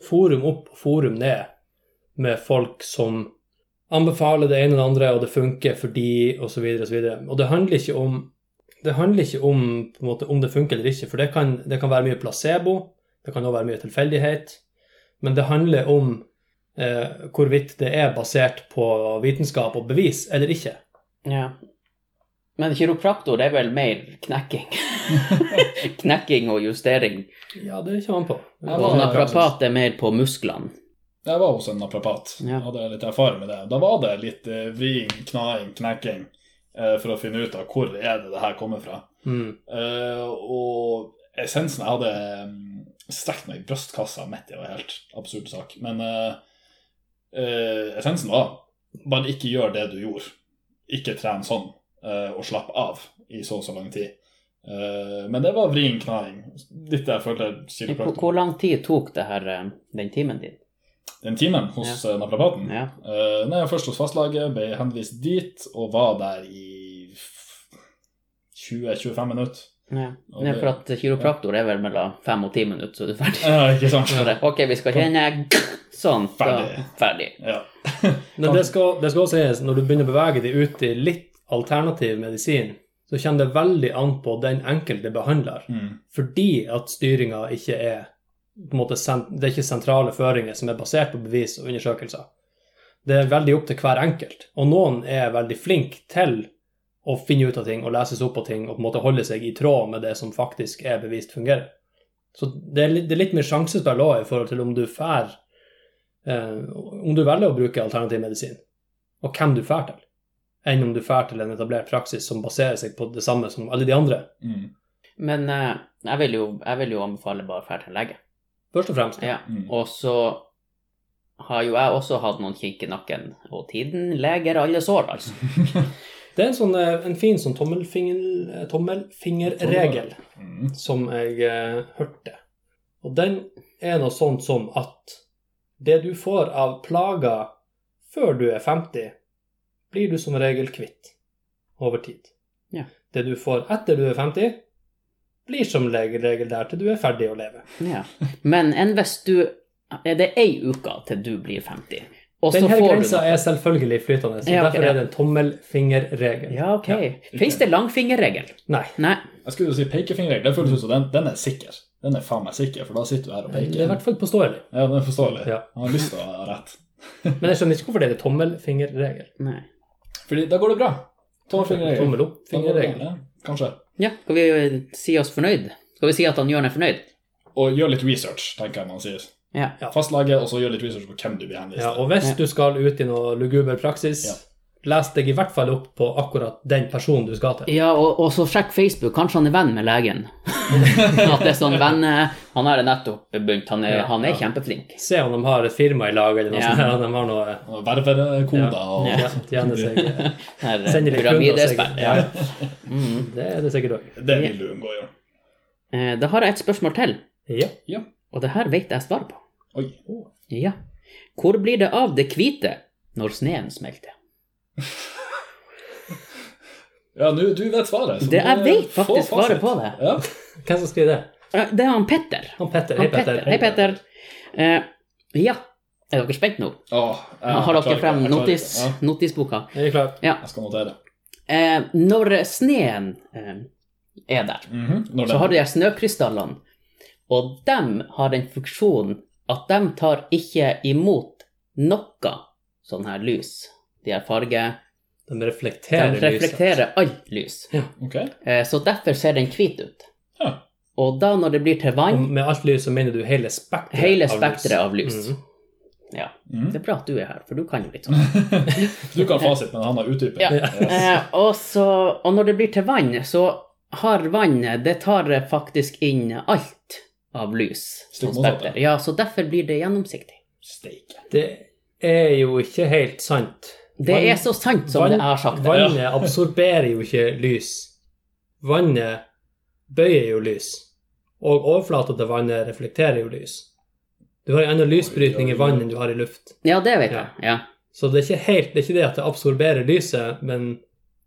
forum opp og forum ned med folk som anbefaler det ene og det andre, og det funker fordi, og så videre og så videre. Og det handler ikke om det handler ikke om, på en måte, om det funker eller ikke, for det kan, det kan være mye placebo, det kan også være mye tilfeldighet, men det handler om eh, hvorvidt det er basert på vitenskap og bevis eller ikke.
Ja. Men kiropraktor det er vel mer knekking? knekking og justering.
Ja, det kommer an på.
Ja,
Og
hva-
naprapat er mer på musklene.
Jeg var hos en naprapat.
Ja.
Jeg hadde litt erfaring med det. Da var det litt eh, vriing, knaing, knekking eh, for å finne ut av hvor er det det her kommer fra.
Mm.
Eh, og essensen Jeg hadde mm, strekt meg i brystkassa midt i, det var en helt absurd sak. Men eh, eh, essensen var bare ikke gjør det du gjorde. Ikke tren sånn, eh, og slapp av i så og så lang tid. Eh, men det var vrien knaing. Litt der jeg følte
Hvor,
kiropraktor.
hvor lang tid tok det her, eh, den timen din?
Den timen hos eh, naprapaten
Ja.
Eh, nei, jeg var først hos fastlege, ble henvist dit, og var der i f- 20-25 minutter.
ja.
Og
Nei,
det-
for at kiropraktor er vel mellom fem og ti minutter, så er du ferdig.
Ja, ikke sant?
Så det, Ok, vi skal kjenne Sånn.
Ferdig.
Da, ferdig.
Ja.
Men det skal, det skal også sies, når du begynner å bevege deg ut i litt alternativ medisin, så kommer det veldig an på den enkelte behandler,
Mm.
fordi at styringa ikke er på en måte, sen- Det er ikke sentrale føringer som er basert på bevis og undersøkelser. Det er veldig opp til hver enkelt, og noen er veldig flink til å finne ut av ting og lese seg opp på ting og på en måte holde seg i tråd med det som faktisk er bevist fungerer. Så det er litt, det er litt mer sjansespill òg i forhold til om du fær eh, om du velger å bruke alternativ medisin, og hvem du fær til, enn om du fær til en etablert praksis som baserer seg på det samme som alle de andre,
Mm.
Men eh, jeg, vil jo, jeg vil jo anbefale bare ferdig til lege.
først og fremst.
Ja.
Mm.
Og så har jo jeg også hatt noen kink i nakken, og tiden leger alle sår, altså.
Det er en, sånn, eh, en fin sånn tommelfingel, eh, tommelfingerregel
Mm.
som jeg eh, hørte. Og den er noe sånt som at det du får av plager før du er 50, blir du som regel kvitt over tid.
Ja.
Det du får etter du er 50, blir som regel regel der til du er ferdig å leve.
Ja. Men enn hvis du Er det ei uke til du blir 50, og så
Denne
får du
grensa er selvfølgelig flytende, så
Ja, ok,
derfor
ja.
er det en tommelfingerregel.
Ja, ok. Fins det langfingerregel?
Nei,
Nei.
Jeg skulle jo si pekefingerregel. Det føles ut som den, den er sikker. Den er faen meg sikker, for da sitter du her og
det er i
peker.
hvert fall påståelig.
Ja, den er forståelig.
Ja.
Han har lyst til å ha rett.
Men jeg skjønner ikke hvorfor det er en tommelfingerregel.
Nei.
Fordi da går det bra. Tommelfingerregel.
Tommel opp-fingerregel.
Ja, kanskje.
Ja, skal vi eh, si oss fornøyd? Skal vi si at han Jørn er fornøyd?
Og gjør litt research, tenker jeg man sier.
Ja.
Ja.
Fastlege, og så gjør litt research på hvem du blir henvist
Ja,
til.
og hvis du skal ut i noe luguber praksis,
Ja.
les deg i hvert fall opp på akkurat den personen du skal til.
Ja, og, og så sjekk Facebook. Kanskje han er venn med legen. At det er sånn venn eh, Han har nettopp begynt. Han
Ja,
er, han er kjempeflink.
Se om de har et firma i lag, eller noe
Ja.
sånt. der, om de har noe
Og Vervekoder og
ja, tjener seg
Her, eh,
Sender litt kunder og seg.
pyramidespill.
Ja,
Mm.
det er det sikkert òg.
Det vil du unngå, Jørn.
Eh, Da har jeg et spørsmål til,
Ja.
og det her vet jeg svar på.
Oi.
Ja. Hvor blir det av det hvite når sneen smelter?
Ja, nå- du vet svaret. så
Det, jeg
du
vet
får
faktisk svaret
fasit.
på det.
Ja.
Hvem som skriver det?
Eh, Det er han Petter.
Han Petter.
Han
Hei, Petter.
Petter. Hei, Petter. Eh, ja. Er dere spent nå?
Åh, jeg-
Har
jeg klarer
dere
ikke,
frem
jeg klarer
notis,
ikke. Ja,
notisboka?
Er vi klare?
jeg skal notere.
Eh, når sneen eh, er der,
Mhm, Når
så har du de her snøkrystallene, og dem har den funksjonen at de tar ikke imot noe sånn her lys. De her farger.
De
De
reflekterer
reflekterer alt lys.
Ok.
Eh, så derfor ser den hvit ut.
Ja.
Og da når det blir til
Og
vann,
med alt lys så mener du hele spekteret
hele
av lys.
spekteret av lys.
Mhm.
Ja.
Mhm.
Det er bra at du er her, for du kan jo litt sånn.
Du kan fasit, men han har utdypet.
Ja. Eh, og, så, og når det blir til vann, så har vannet Det tar faktisk inn alt av lys.
Stikk
som
motsatt,
spekter. Ja, så derfor blir det gjennomsiktig.
Steike.
Det er jo ikke helt sant.
Det er så sant som
Vann-
jeg har sagt det.
Vannet absorberer jo ikke lys. Vannet bøyer jo lys. Og overflata til vannet reflekterer jo lys. Du har en annen lysbrytning i vann enn du har i luft.
Ja, det vet
Ja.
jeg. Ja.
Så det er ikke helt, det er ikke det at det absorberer lyset, men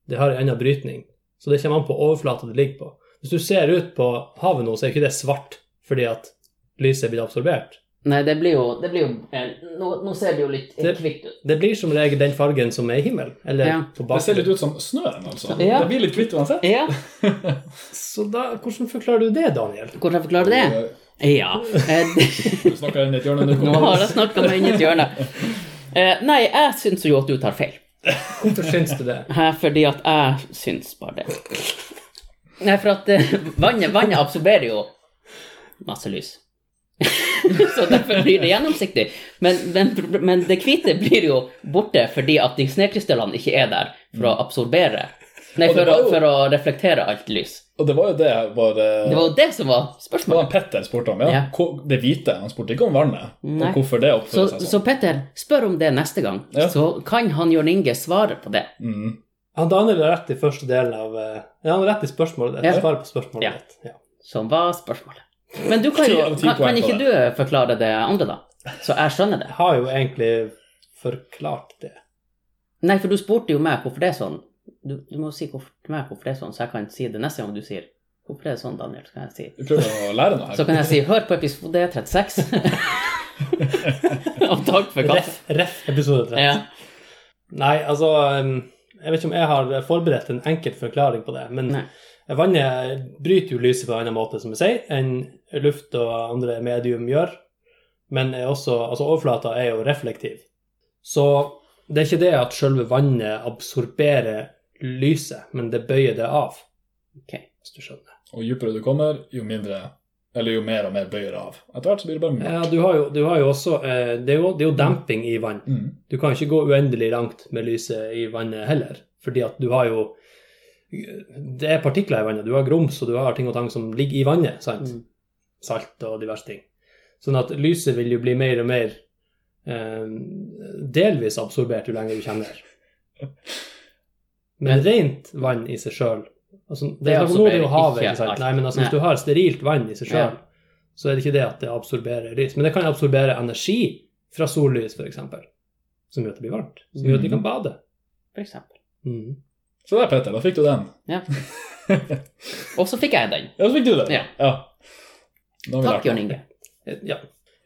det har en annen brytning. Så det kommer an på overflata det ligger på. Hvis du ser ut på havet nå, så er ikke det svart fordi at lyset blir absorbert.
Nei, det blir jo, det blir jo eh, nå, nå ser det jo litt eh,
Det-
kvikt ut.
Det blir som regel den fargen som er i himmelen, eller
Ja.
på
Det ser
bakgrunnen.
litt ut som snøen, altså.
Ja.
Det blir litt kvitt uansett.
Ja,
Så da, hvordan forklarer du det, Daniel?
hvordan forklarer du det? Ja. eh,
Du snakker inn i et hjørne nå.
Nå har jeg snakka meg inn i et hjørne. Eh, nei, jeg syns jo at du tar feil.
Hvorfor syns du det?
Hæ, fordi at jeg syns bare det. Nei, for at eh, vannet, vannet absorberer jo masse lys. Så derfor blir det gjennomsiktig. Men, men, men det hvite blir jo borte fordi at de snekrystallene ikke er der for å absorbere. Nei,
Og det
for,
var
å,
jo-
for å reflektere alt lys.
Og det var jo det vår
Det var jo det som var
det var
spørsmålet.
han Petter spurte om. ja.
Ja.
Hvor- Det hvite. Han spurte ikke om vannet.
Nei.
Og hvorfor det
Så,
oppfører seg sånn.
så Petter, spør om det neste gang,
Ja.
så kan han Jørn Inge svare på det.
Mm.
Han Daniel har rett i første delen av eh, Ja, han har rett i spørsmålet ditt.
Ja.
Svaret på spørsmålet
Ja.
ditt. Ja.
som var spørsmålet. Men du kan jo,
Ti av ti
kan, kan
poeng på
ikke du forklare det andre, da? Så jeg skjønner det.
Jeg har jo egentlig forklart det.
Nei, for du spurte jo meg hvorfor det er sånn. Du, du må si hvorfor, til meg hvorfor det er sånn, så jeg kan si det neste gang du sier hvorfor det er sånn, Daniel. Så kan jeg si,
Vi prøver å lære noe her.
så kan jeg si hør på episode 36. Og takk for
Ref,
kaffe.
ref episode 30.
Ja.
Nei, altså em, Jeg vet ikke om jeg har forberedt en enkel forklaring på det, men
Nei.
vannet bryter jo lyset på en annen måte, som jeg sier, enn luft og andre medium gjør. Men er også, altså overflata er jo reflektiv. Så det er ikke det at selve vannet absorberer lyset, men det bøyer det av,
Ok.
hvis du skjønner.
Og dypere du kommer, jo mindre Eller jo mer og mer bøyer det av. Etter hvert så blir det bare mer.
Ja, du har jo, du har jo også eh, det, er jo, det er jo demping i vann.
Mm.
Du kan ikke gå uendelig langt med lyset i vannet heller, fordi at du har jo Det er partikler i vannet. Du har grums, og du har ting og tang som ligger i vannet. sant?
Mm.
Salt og diverse ting. Sånn at lyset vil jo bli mer og mer eh, delvis absorbert jo lenger du kommer. Men rent vann i seg sjøl altså, Det
Det
er snakk om nå er det
absorberer
jo havet,
ikke
ikke sant?
alt.
Nei, men altså,
Nei.
hvis du har sterilt vann i seg
Ja.
sjøl, så er det ikke det at det absorberer lys. Men det kan absorbere energi fra sollys, f.eks., som gjør at det blir varmt. Som gjør at
Mhm.
de kan bade.
For eksempel.
Mm.
Mhm.
Så der, Petter, da fikk du den.
Ja. Og så fikk jeg den.
Ja, så fikk du den.
Ja.
Nå har vi lært
Takk,
noe.
Jørn Inge.
Eh, Ja.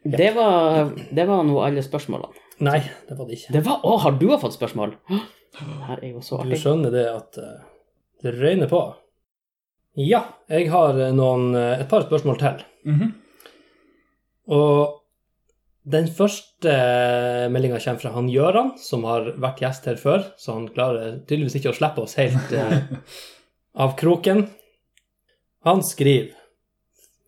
Det var, det var nå alle spørsmålene.
Nei, det var det ikke.
Det var, å, har du fått spørsmål? Hå, Her er jo så
Du
artig.
skjønner det at eh, det røyner på. Ja, jeg har eh, noen, eh, et par spørsmål til.
Mhm.
Og den første meldinga kommer fra han Gjøran, som har vært gjest her før, så han klarer tydeligvis ikke å slippe oss helt eh, av kroken. Han skriver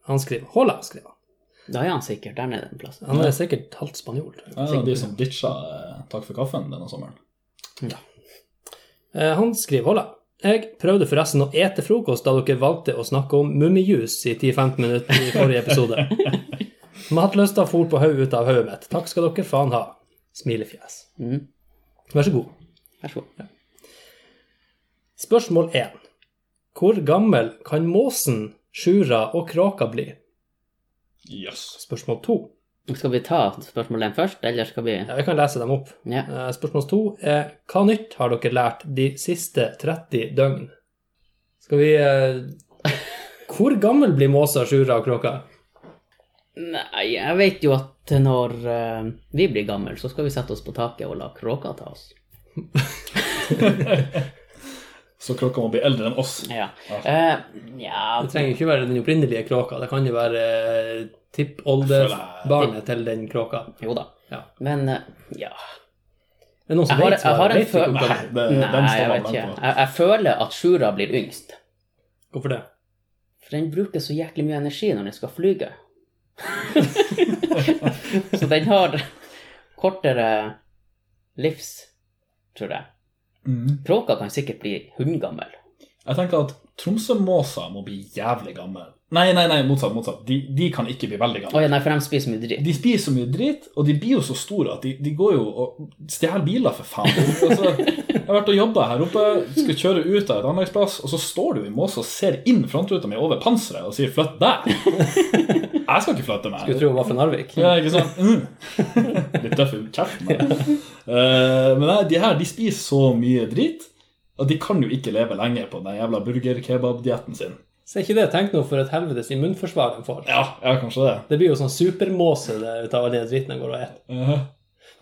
Han skriver Hola, skriver han.
Da er han sikkert der nede en plass.
Han er sikkert halvt spanjol. tror jeg.
En av de som ditcha eh, Takk for kaffen denne sommeren.
Eh, Han skriver Hola. Jeg prøvde forresten å ete frokost da dere valgte å snakke om mummijus i 10-15 minutter i forrige episode. Matlysta for på hodet ut av hodet mitt. Takk skal dere faen ha. Smilefjes.
Mm.
Vær så god.
Vær så god.
Spørsmål 1. Hvor gammel kan måsen, sjura og kråka bli?
Jøss. Yes.
Spørsmål 2.
Skal vi ta spørsmålet først, eller skal vi
Ja, jeg kan lese dem opp.
Ja.
Eh, Spørsmål 2 er hva nytt har dere lært de siste 30 døgn? Skal vi eh, Hvor gammel blir måsa, sjura og kråka?
Nei, jeg vet jo at når eh, vi blir gamle, så skal vi sette oss på taket og la kråka ta oss.
Så klokka må bli eldre enn oss.
Ja. Eh, ja
Det trenger jo ikke være den opprinnelige kråka, det kan jo være eh, tippoldebarnet til den kråka.
Jo da.
Ja.
Men eh, ja
Det er noen som
Jeg har-
vet
jeg har
svaret.
en
Vet du
føl-
hvor
Nei,
gammel-
det,
Nei,
Eh, den
jeg
står
vet
man
ikke.
langt på.
Jeg, jeg føler at Sjura blir yngst.
Hvorfor det?
For den bruker så jæklig mye energi når den skal flyge. så den har kortere livs, tror jeg.
Mhm.
Kråka kan sikkert bli hundgammel.
Jeg tenker at Tromsømåser må bli jævlig gamle. Nei, nei, nei, motsatt. motsatt. De, de kan ikke bli veldig gamle.
Å ja, nei, for de spiser mye dritt.
De spiser så mye drit, og de blir jo så store at de, de går jo og stjeler biler, for faen. Altså, jeg har vært og jobba her oppe, skal kjøre ut av et anleggsplass, og så står du i måse og ser inn frontruta mi over panseret og sier 'flytt deg'. Jeg skal ikke flytte meg.
Skulle tro hun var fra Narvik.
Ja, ikke sant? Mm. Litt tøff i kjeften. da. Eh, men nei, de her de spiser så mye drit at de kan jo ikke leve lenger på den jævla burger-kebab-dietten sin.
Se ikke det. Tenk nå for et helvetes immunforsvar de får.
Ja, ja, kanskje det.
Det blir jo sånn supermåse det, ut av all den dritten de går og spiser.
Eh,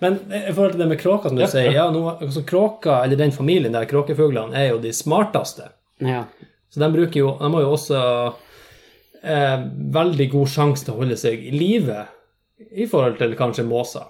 Men eh, i forhold til det med kråker, som du
Ja,
sier. Ja,
ja.
nå, altså, kråker, eller den familien der kråkefuglene, er jo de smarteste.
Ja.
Så de bruker jo De har jo også eh, veldig god sjanse til å holde seg i live i forhold til kanskje måser.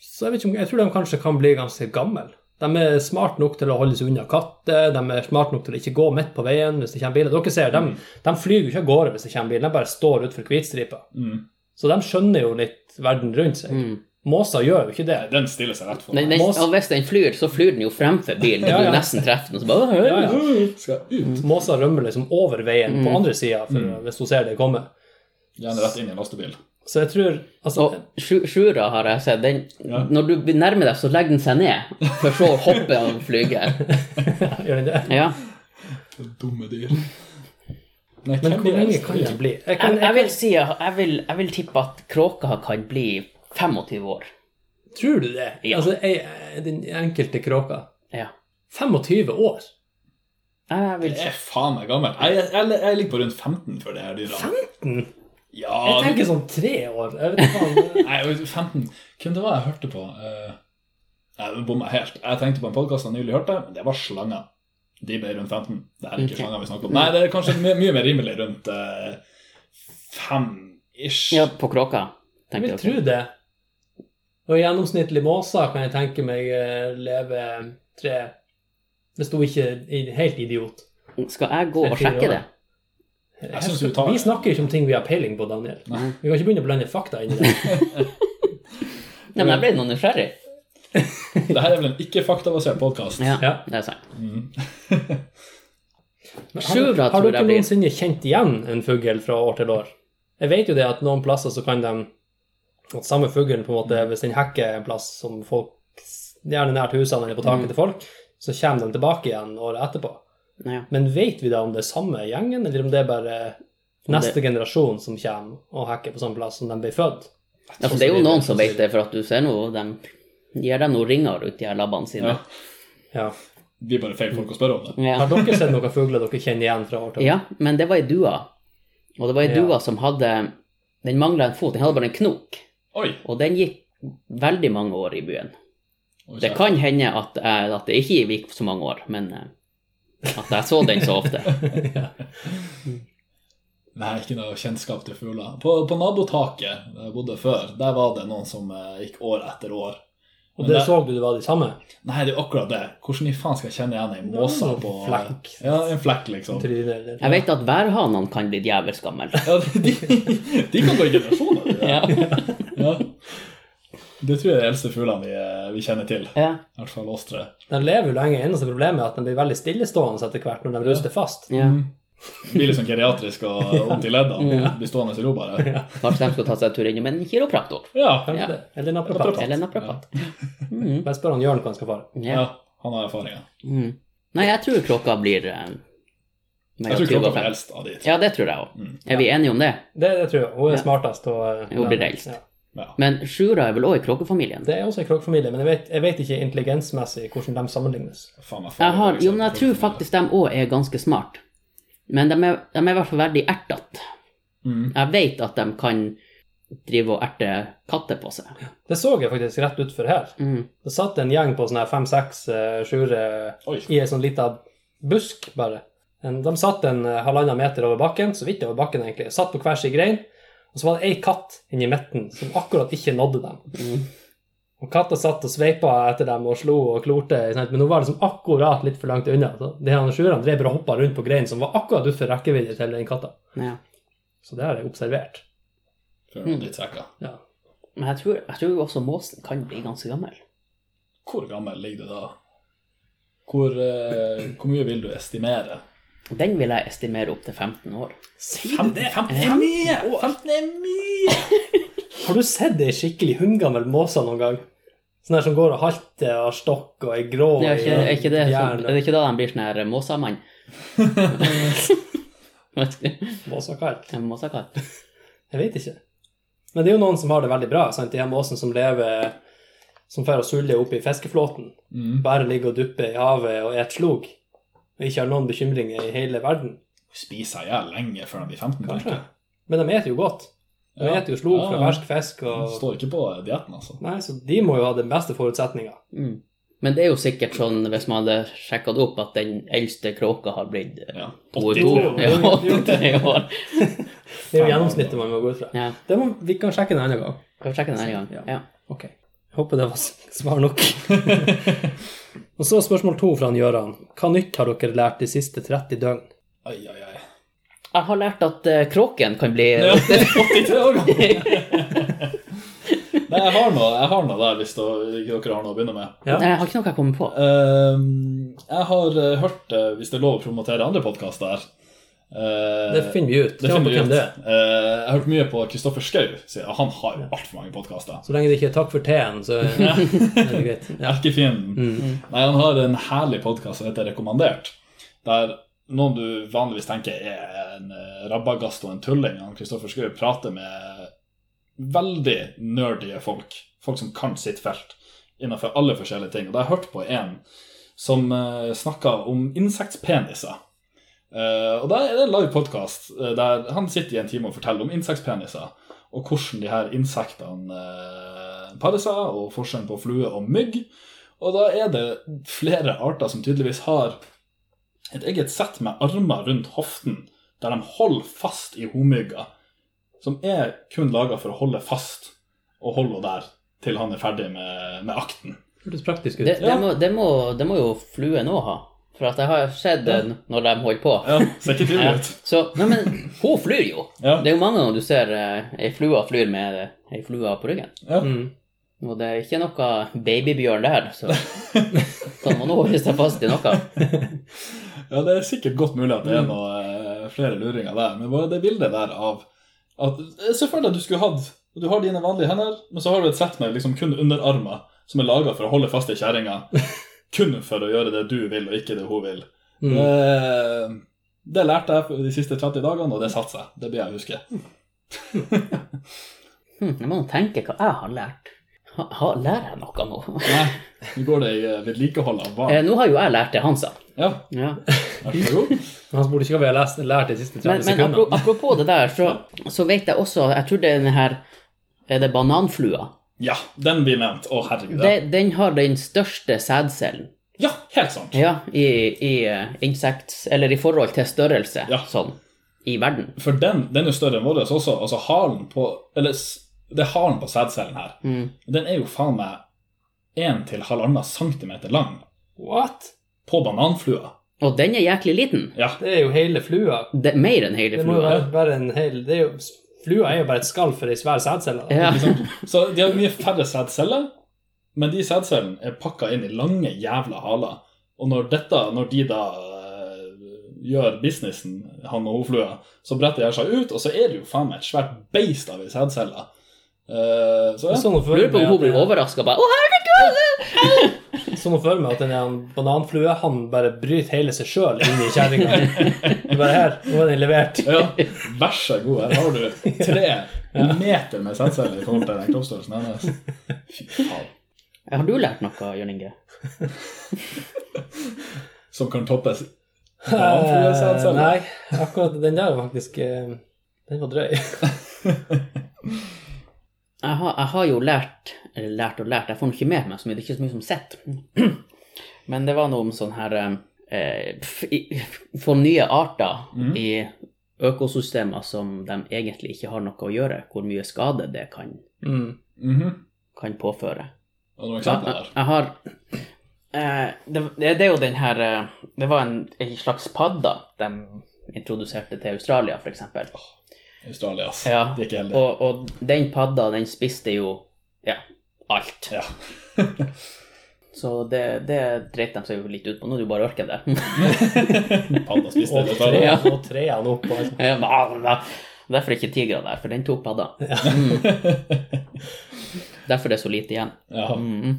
Så jeg vet ikke om Jeg tror de kanskje kan bli ganske gamle. De er smart nok til å holde seg unna katter, de er smart nok til å ikke gå midt på veien hvis det kommer biler. Dere ser, de, de flyr jo ikke av gårde hvis det kommer bil, de bare står utenfor hvitstripa.
mm.
Så de skjønner jo litt verden rundt seg.
Mm.
Måser gjør jo ikke det.
Nei, Den stiller seg rett for
Den, den,
Mås-
og hvis den flyr, så flyr den jo fremfor bilen. Du
Ja, ja.
nesten treffer den. og Så bare,
Ja, ja.
Skal ut.
Måser rømmer liksom over veien på
Mm.
andre sida
Mm.
hvis hun ser det komme.
Gjerne rett inn i en lastebil.
Så jeg tror altså,
Og sju- sjura har jeg sett. Den,
Ja.
Når du nærmer deg, så legger den seg ned. For så å hoppe og flyge.
Gjør den det?
Ja.
Dumme dyr. Nei,
Men
hvem
hvor
er
mange
eldst
kan
dyr?
de bli? Jeg
Jeg,
kan,
jeg vil si jeg vil, jeg vil tippe at kråka kan bli 25 år.
tror du det?
Ja.
Altså, jeg, den enkelte kråka.
Ja.
25 år?
Jeg vil
Jeg er faen meg gammel. Jeg, jeg, jeg, jeg ligger på rundt 15 for det her dyra.
15?
Ja,
Jeg tenker sånn tre år. Jeg vet ikke faen.
Nei, jeg vet- 15 Hvem det var jeg hørte på? Eh, Nei, jeg bomma helt. Jeg tenkte på en podkast jeg nylig hørte, men det var slanger. De ble rundt 15. Det er ikke
Ok.
slanger vi snakker om. Nei, det er kanskje mye, mye mer rimelig rundt eh, fem ish.
Ja, på kråka.
Jeg
tenkte
vil
jeg på.
tro det. Og gjennomsnittlig måse kan jeg tenke meg eh, leve tre Hvis hun ikke er helt idiot.
Skal jeg gå og
Tre-fire
sjekke
år.
det?
Jeg synes du tar-
Vi snakker jo ikke om ting vi har peiling på, Daniel.
Nei.
Vi kan ikke begynne å blande fakta inn i det.
Nei, men jeg ble nå nysgjerrig.
Det her er vel en ikke-faktabasert podkast.
Ja,
Ja.
det er sant.
Mm.
Men
Sjura
Har, har
tror
dere
jeg blir-
noensinne kjent igjen en fugl fra år til år? Jeg vet jo det at noen plasser så kan de at samme fuglen, på en måte,
Mm.
hvis den hekker en plass som folk gjerne nært husene eller på
Mm.
taket til folk, så kommer de tilbake igjen året etterpå.
Ja.
Men vet vi da om det er samme gjengen, eller om det er bare neste generasjon som kommer og hekker på samme plass som de ble født?
Ja, for det er jo noen som vet det, for at du ser nå, de gir deg noen ringer ut de her labbene sine.
Ja.
Ja.
Vi er bare feil folk å spørre om det.
Ja.
Har dere sett noen fugler dere kjenner igjen fra år til år?
ja, men det var ei dua. Og det var ei
Ja.
dua som hadde Den mangla en fot, den hadde bare en knok.
Oi!
Og den gikk veldig mange år i byen.
Oi,
Det
kjære.
kan hende at, jeg- at det ikke gikk så mange år, men eh, at jeg så den så ofte.
Nei, ikke noe kjennskap til fugler. På, på nabotaket der jeg bodde før, der var det noen som eh, gikk år etter år.
Og
Men
det
det-
så du det var de samme?
Nei, det er akkurat det. Hvordan i faen skal jeg kjenne igjen ei måse
Ja,
på
flekk.
Ja, en flekk, liksom.
Trynet, eller?
Jeg vet at værhanene kan bli djevelsk gamle.
Ja, de, de kan gå i generasjoner. de der. Ja. Det tror jeg er de eldste fuglene vi, eh, vi kjenner til.
Ja.
I hvert fall oss tre.
De lever jo lenge. Eneste problemet er at de blir veldig stillestående etter hvert når de ruster fast.
ja.
Mm. Blir litt sånn geriatrisk og vondt i leddene. Blir stående i ro, bare.
Kanskje de skulle ta seg en tur innom en kiropraktor.
Ja.
Kanskje
Ja.
det. Eller en apropat.
Eller en naprapat. Mm.
Bare spør han Jørn hva han skal fare.
Ja.
ja. Han har erfaringer.
Mm. Nei, jeg tror klokka blir eh,
Jeg
20
tror
og
klokka
fem.
er eldst av de tre.
Ja, det tror jeg òg.
Mm.
Er vi enige om det?
Det, det tror jeg. Hun er
Ja.
smartest. Og, eh,
Hun blir eldst.
Ja.
Ja.
Men Sjura er vel òg i kråkefamilien?
Det er også en kråkefamilie, men jeg vet, jeg vet ikke intelligensmessig hvordan de sammenlignes.
Faen, jeg får-
Jeg, har, jo, men jeg tror faktisk de òg er ganske smart. Men de er, de er i hvert fall veldig ertete.
Mm.
Jeg vet at de kan drive og erte katter på seg.
Det så jeg faktisk rett utfor her.
Mm.
Det satt en gjeng på sånne her fem-seks eh, sjure
Oi.
i ei sånn lita busk, bare. En, de satt en eh, halvannen meter over bakken, så vidt over bakken, egentlig. Satt på hver sin grein. Og så var det ei katt inni midten som akkurat ikke nådde dem.
Mm.
Og katta satt og sveipa etter dem og slo og klorte, ikke sant? men hun var liksom akkurat litt for langt unna. Så de her sjurene drev bare og hoppa rundt på greinen som var akkurat utenfor rekkevidde til den katta.
Ja.
Så det har jeg observert.
Før
Mm.
man blir trekket.
Ja.
Men jeg tror, jeg tror også måsen kan bli ganske gammel.
Hvor gammel ligger du da? Hvor, eh, hvor mye vil du estimere?
Den vil jeg estimere opp til 15 år.
Si du det?
15 er mye! 15 er mye!
Har du sett ei skikkelig hundgammel måse noen gang? Sånn her som går og halter og har stokk og er grå
Det
i
er, ikke, er, ikke det, så,
hjernen.
er det ikke da de blir sånn her Måsamann? Vet ikke.
Måsakall.
En Måsakar.
Jeg vet ikke. Men det er jo noen som har det veldig bra. sant? De her måsene som lever som får å sulle opp i fiskeflåten,
Mm.
bare ligger og dupper i havet og et slog, og ikke har noen bekymringer i hele verden.
Spiser jeg ihjel lenge før de blir 15, tenker
Kanskje.
jeg.
Men de eter jo godt. De
Ja.
eter jo slog
Ja,
fra
ja.
fersk fisk
Det
og
Står ikke på dietten, altså.
Nei, så de må jo ha den beste forutsetninga.
Mm. Men det er jo sikkert sånn, hvis man hadde sjekka det opp, at den eldste kråka har blitt eh,
Ja.
82
83 år.
Ja, 83 år.
Det er jo gjennomsnittet man må gå ut fra.
Ja,
Det må, vi kan sjekke det en annen gang.
Skal vi sjekke den en gang?
Ja.
Ja.
Ok. Jeg håper det var s- svar nok. og så spørsmål to fra han Gøran. Hva nytt har dere lært de siste 30 døgn?
Ai, ai, ai.
Jeg har lært at eh, kråken kan bli
Ja, 83 år gammel. Nei, jeg har noe, jeg har noe der hvis dere ikke dere har noe å begynne med.
Ja.
Nei, Jeg har ikke noe jeg kommer på.
Ehm, jeg har eh, hørt, eh, hvis det er lov å promotere andre podkaster her eh,
Det finner vi ut.
det
Kommer på
finner vi
hvem
ut.
det er.
Eh, jeg har hørt mye på Kristoffer Schou. sier- Han har jo altfor mange podkaster.
Så lenge det ikke er takk for teen, så er det greit. Ja.
Erkefienden.
Mm.
Nei, han har en herlig podkast som heter Rekommandert. Der noen du vanligvis tenker er en eh, rabagast og en tulling, han Kristoffer Schou prater med veldig nerdige folk. Folk som kan sitt felt innenfor alle forskjellige ting. Og da har jeg hørt på en som uh, snakka om insektpeniser. Eh, og da er det en live podkast der han sitter i en time og forteller om insektpeniser. Og hvordan de her insektene eh, parer seg, og forskjellen på flue og mygg. Og da er det flere arter som tydeligvis har et eget sett med armer rundt hoften, der de holder fast i homygga, som er kun laga for å holde fast og holde henne der til han er ferdig med, med akten.
Hørtes praktisk ut.
Det, det,
Ja.
må, det, må, det må jo fluen òg ha. For at jeg har sett
Ja.
eh, når de holder på.
Ja, Ser ikke
Ja.
tydelig ut.
Så, nei, men hun flyr jo.
Ja,
Det er jo mange ganger du ser eh, ei flue flyr med eh, ei flue på ryggen.
Mm.
Og det er ikke noe babybjørn der, så kan man nå holde seg fast i noe.
ja, det er sikkert godt mulig at det er noe, eh, flere luringer der, men bare det bildet der av at eh, Se for deg at du skulle hatt Du har dine vanlige hender, men så har du et sett med liksom kun underarmer som er laga for å holde fast i kjerringa, kun for å gjøre det du vil, og ikke det hun vil.
Mm.
Det, det lærte jeg de siste 30 dagene, og det satser jeg. Det blir jeg å huske.
Hm, jeg må nå tenke hva jeg har lært. Ha, ha, lærer jeg noe nå?
Nei, nå går det i eh, vedlikehold av
Eh,
barn.
nå har jo jeg lært det han sa.
Ja,
Ja.
vær så god.
Men Han burde ikke ha lest, lært de siste 30
Men, men
sekundene.
apro- apropos det der, så, så vet jeg også Jeg tror det er den her Er det bananflua?
Ja, den blir nevnt. Å, herregud. ja.
Det, den har den største sædcellen
Ja, helt sant.
ja, i, i eh, insekts... Eller i forhold til størrelse,
Ja.
sånn, i verden.
For den, den er jo større enn vår også. Altså halen på Eller s- det er halen på sædcellen her.
Mm.
Den er jo faen meg 1 til halvannen centimeter lang
What?
på bananflua.
Og den er jæklig liten.
Ja.
Det er jo hele flua.
Det er mer enn hele
Det må jo
flua.
være, være en hel det er jo, Flua er jo bare et skall for ei svær sædcelle. da.
Ja.
Liksom. Så de har mye færre sædceller, men de sædcellene er pakka inn i lange jævla haler. Og når, dette, når de da eh, gjør businessen, han og hun flua, så bretter de her seg ut, og så er det jo faen meg et svært beist av ei sædcelle. Eh, så
Det
ja.
er Sånn å
Lurer
føle
på om hun
med
blir
at,
overraska. Bare,
sånn å føle med at den er en bananflue, han bare bryter hele seg sjøl inn i kjerringa. Det er Bare her, nå er den levert.
ja, vær så god, her har du tre meter med sædceller i forhold til den kroppsstørrelsen hennes. Fy faen.
Har du lært noe, Jørn Inge?
Som kan toppes.
Eh,
Bananfluesædceller.
Nei, akkurat den der var faktisk eh, Den var drøy.
Jeg har, jeg har jo lært eller lært og lært, jeg får nå ikke med meg så mye, det er ikke så mye som sett. Men det var noe om sånn her eh, pff, i- Få nye arter
Mhm.
i økosystemer som de egentlig ikke har noe å gjøre, hvor mye skade det kan,
Mm.
Mhm.
kan påføre.
Og noen
Jeg,
eksempler her.
jeg har eh, det, det er jo den her eh, Det var en, en slags padda de introduserte til Australia, f.eks.
Australia, ass.
Ja,
De er ikke heldige.
Og, og den padda, den spiste jo ja, alt.
Ja.
Så det, det dreit de seg jo litt ut på. Nå er det jo bare ørken der.
Panda spiste
Og
det.
tre,
bare.
Ja.
og tre han opp. altså. og alt.
Ja, hva- hva? Derfor er ikke tigra der, for den tok padda. Mm. Derfor det er så lite igjen.
Ja.
Mm.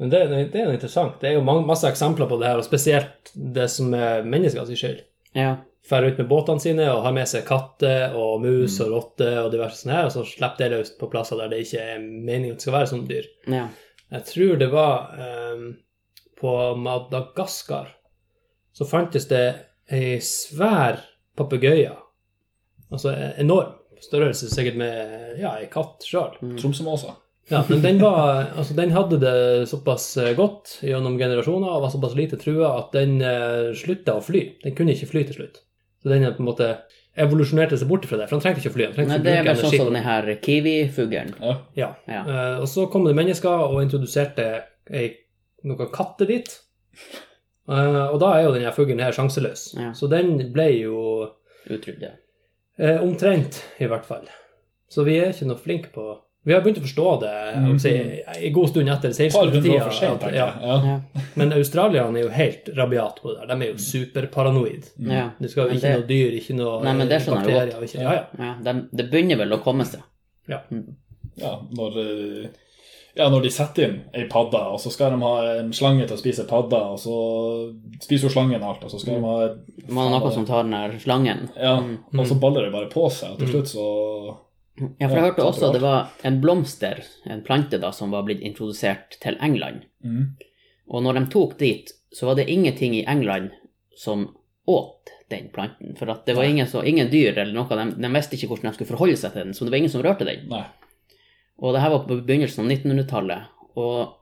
Men det, det er jo interessant. Det er jo mange, masse eksempler på det her, og spesielt det som er menneskers skyld.
Ja.
Drar ut med båtene sine og har med seg katter og mus og rotter og diverse sånne her, og så slipper det løs på plasser der det ikke er meningen at det skal være sånne dyr.
ja.
Jeg tror det var ehm, på Madagaskar så fantes det ei svær papegøye. Altså e- enorm størrelse, sikkert med ja, ei katt sjøl.
Tromsømåsa.
Ja, men den, var, altså, den hadde det såpass eh, godt gjennom generasjoner og var såpass lite trua at den uh, slutta å fly. Den kunne ikke fly til slutt. Så den på en måte evolusjonerte seg bort fra det, for han trengte ikke å fly. Han trengte
Nei,
ikke å
det er
bruke
bare sånn
energi.
som denne her kiwifuglen.
Ja.
Ja.
Ja.
Eh, og så kom det mennesker og introduserte ei, noen katter dit. Eh, og da er jo denne fuglen her sjanseløs.
Ja.
Så den ble jo
Utrydd, ja.
eh, omtrent, i hvert fall. Så vi er ikke noe flinke på Vi har begynt å forstå det jeg vil si, en god stund etter
Et par Mhm. hundre år for
1600-tida.
sent,
at-
tenker
Ja.
jeg. Ja.
ja.
Men australierne er jo helt rabiat på det. der. De
Mhm.
er jo superparanoid.
ja.
Du skal jo
Men
ikke
det-
noe dyr, ikke noe
Nei, men det skjønner jeg
bakterier. Ikke, ja, ja.
ja det, det begynner vel å komme seg.
Ja, når, eh, ja, når de setter inn ei padde, og så skal de ha en slange til å spise padda, og så spiser jo slangen alt, og så skal de ha
Man har noe som tar den der slangen.
Ja, og så baller det bare på seg, og til slutt så
Ja, for jeg
Ja,
hørte også
sant,
det var en blomster, en plante da, som var blitt introdusert til England.
Mhm.
Og når de tok dit, så var det ingenting i England som åt den planten. For at det var ingen, så, ingen dyr eller noe, de, de visste ikke hvordan de skulle forholde seg til den, så det var ingen som rørte den.
Nei.
Og det her var på begynnelsen av 1900-tallet, og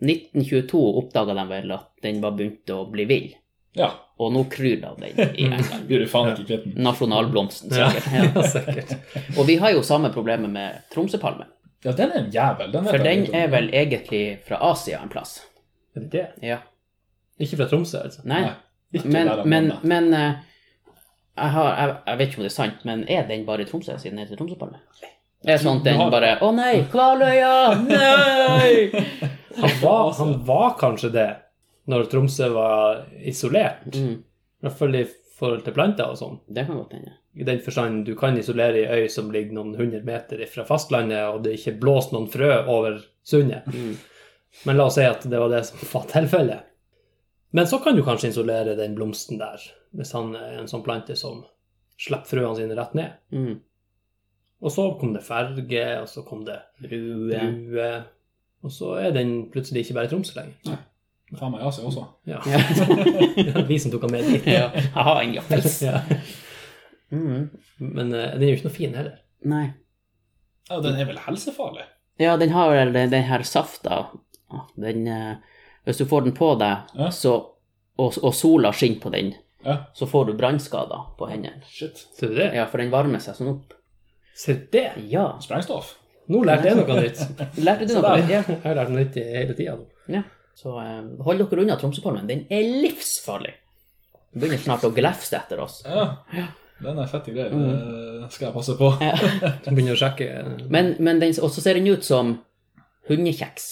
1922 oppdaga de vel at den var begynt å bli vill.
Ja.
Og nå kryr det av den i England.
Blir du faen ikke kvitt den.
Nasjonalblomsten,
Ja.
sikkert. Ja.
ja, sikkert.
Og vi har jo samme problemet med Tromsøpalmen.
Ja, den er en jævel. Den vet
For
jeg
den
litt om.
er vel egentlig fra Asia en plass.
Er det det?
Ja.
Ikke fra Tromsø, altså?
Nei.
Nei, ikke
Men,
der han
men,
var.
men eh, jeg, har, jeg, jeg vet ikke om det er sant, men er den bare i Tromsø siden den heter Tromsøpalme? Er det sånn at den
Du har-
bare Å nei, Kvaløya! Nei!
Han var, han var kanskje det når Tromsø var isolert,
Mm,
i hvert fall i forhold til planter og sånn.
det kan godt hende.
I den forstand du kan isolere ei øy som ligger noen hundre meter fra fastlandet, og det ikke blåser noen frø over sundet.
Mm.
Men la oss si at det var det som var tilfellet. Men så kan du kanskje isolere den blomsten der, hvis han er en sånn plante som slipper frøene sine rett ned.
Mm.
Og så kom det ferge, og så kom det
Brue.
drue, og så er den plutselig ikke bare i Tromsø lenger.
Faen meg, Asia også.
Ja.
Ja.
Vi som tok han med dit.
ja. Jeg har en jappels.
Ja.
Mm.
Men eh, den er jo ikke noe fin heller.
Nei.
Ja, den er vel helsefarlig?
Ja, den har vel den, den her safta. Den, eh, hvis du får den på deg,
Ja.
så, og, og sola skinner på den,
Ja.
så får du brannskader på hendene.
Shit.
Ser du det?
Ja, for den varmer seg sånn opp.
Ser du det?
Ja.
Sprengstoff.
Nå lærte jeg noe nytt.
Lærte du
Så
noe?
da-
nytt? Ja.
Jeg har lært noe nytt hele tida nå.
ja. Så eh, hold dere unna Tromsøpalmen. Den er livsfarlig. Den begynner snart å glefse etter oss.
Ja. Den er fette greier.
Mm.
Det skal jeg passe på.
Ja.
Så begynner jeg å sjekke. eh,
Men, men den, også ser den ut som hundekjeks.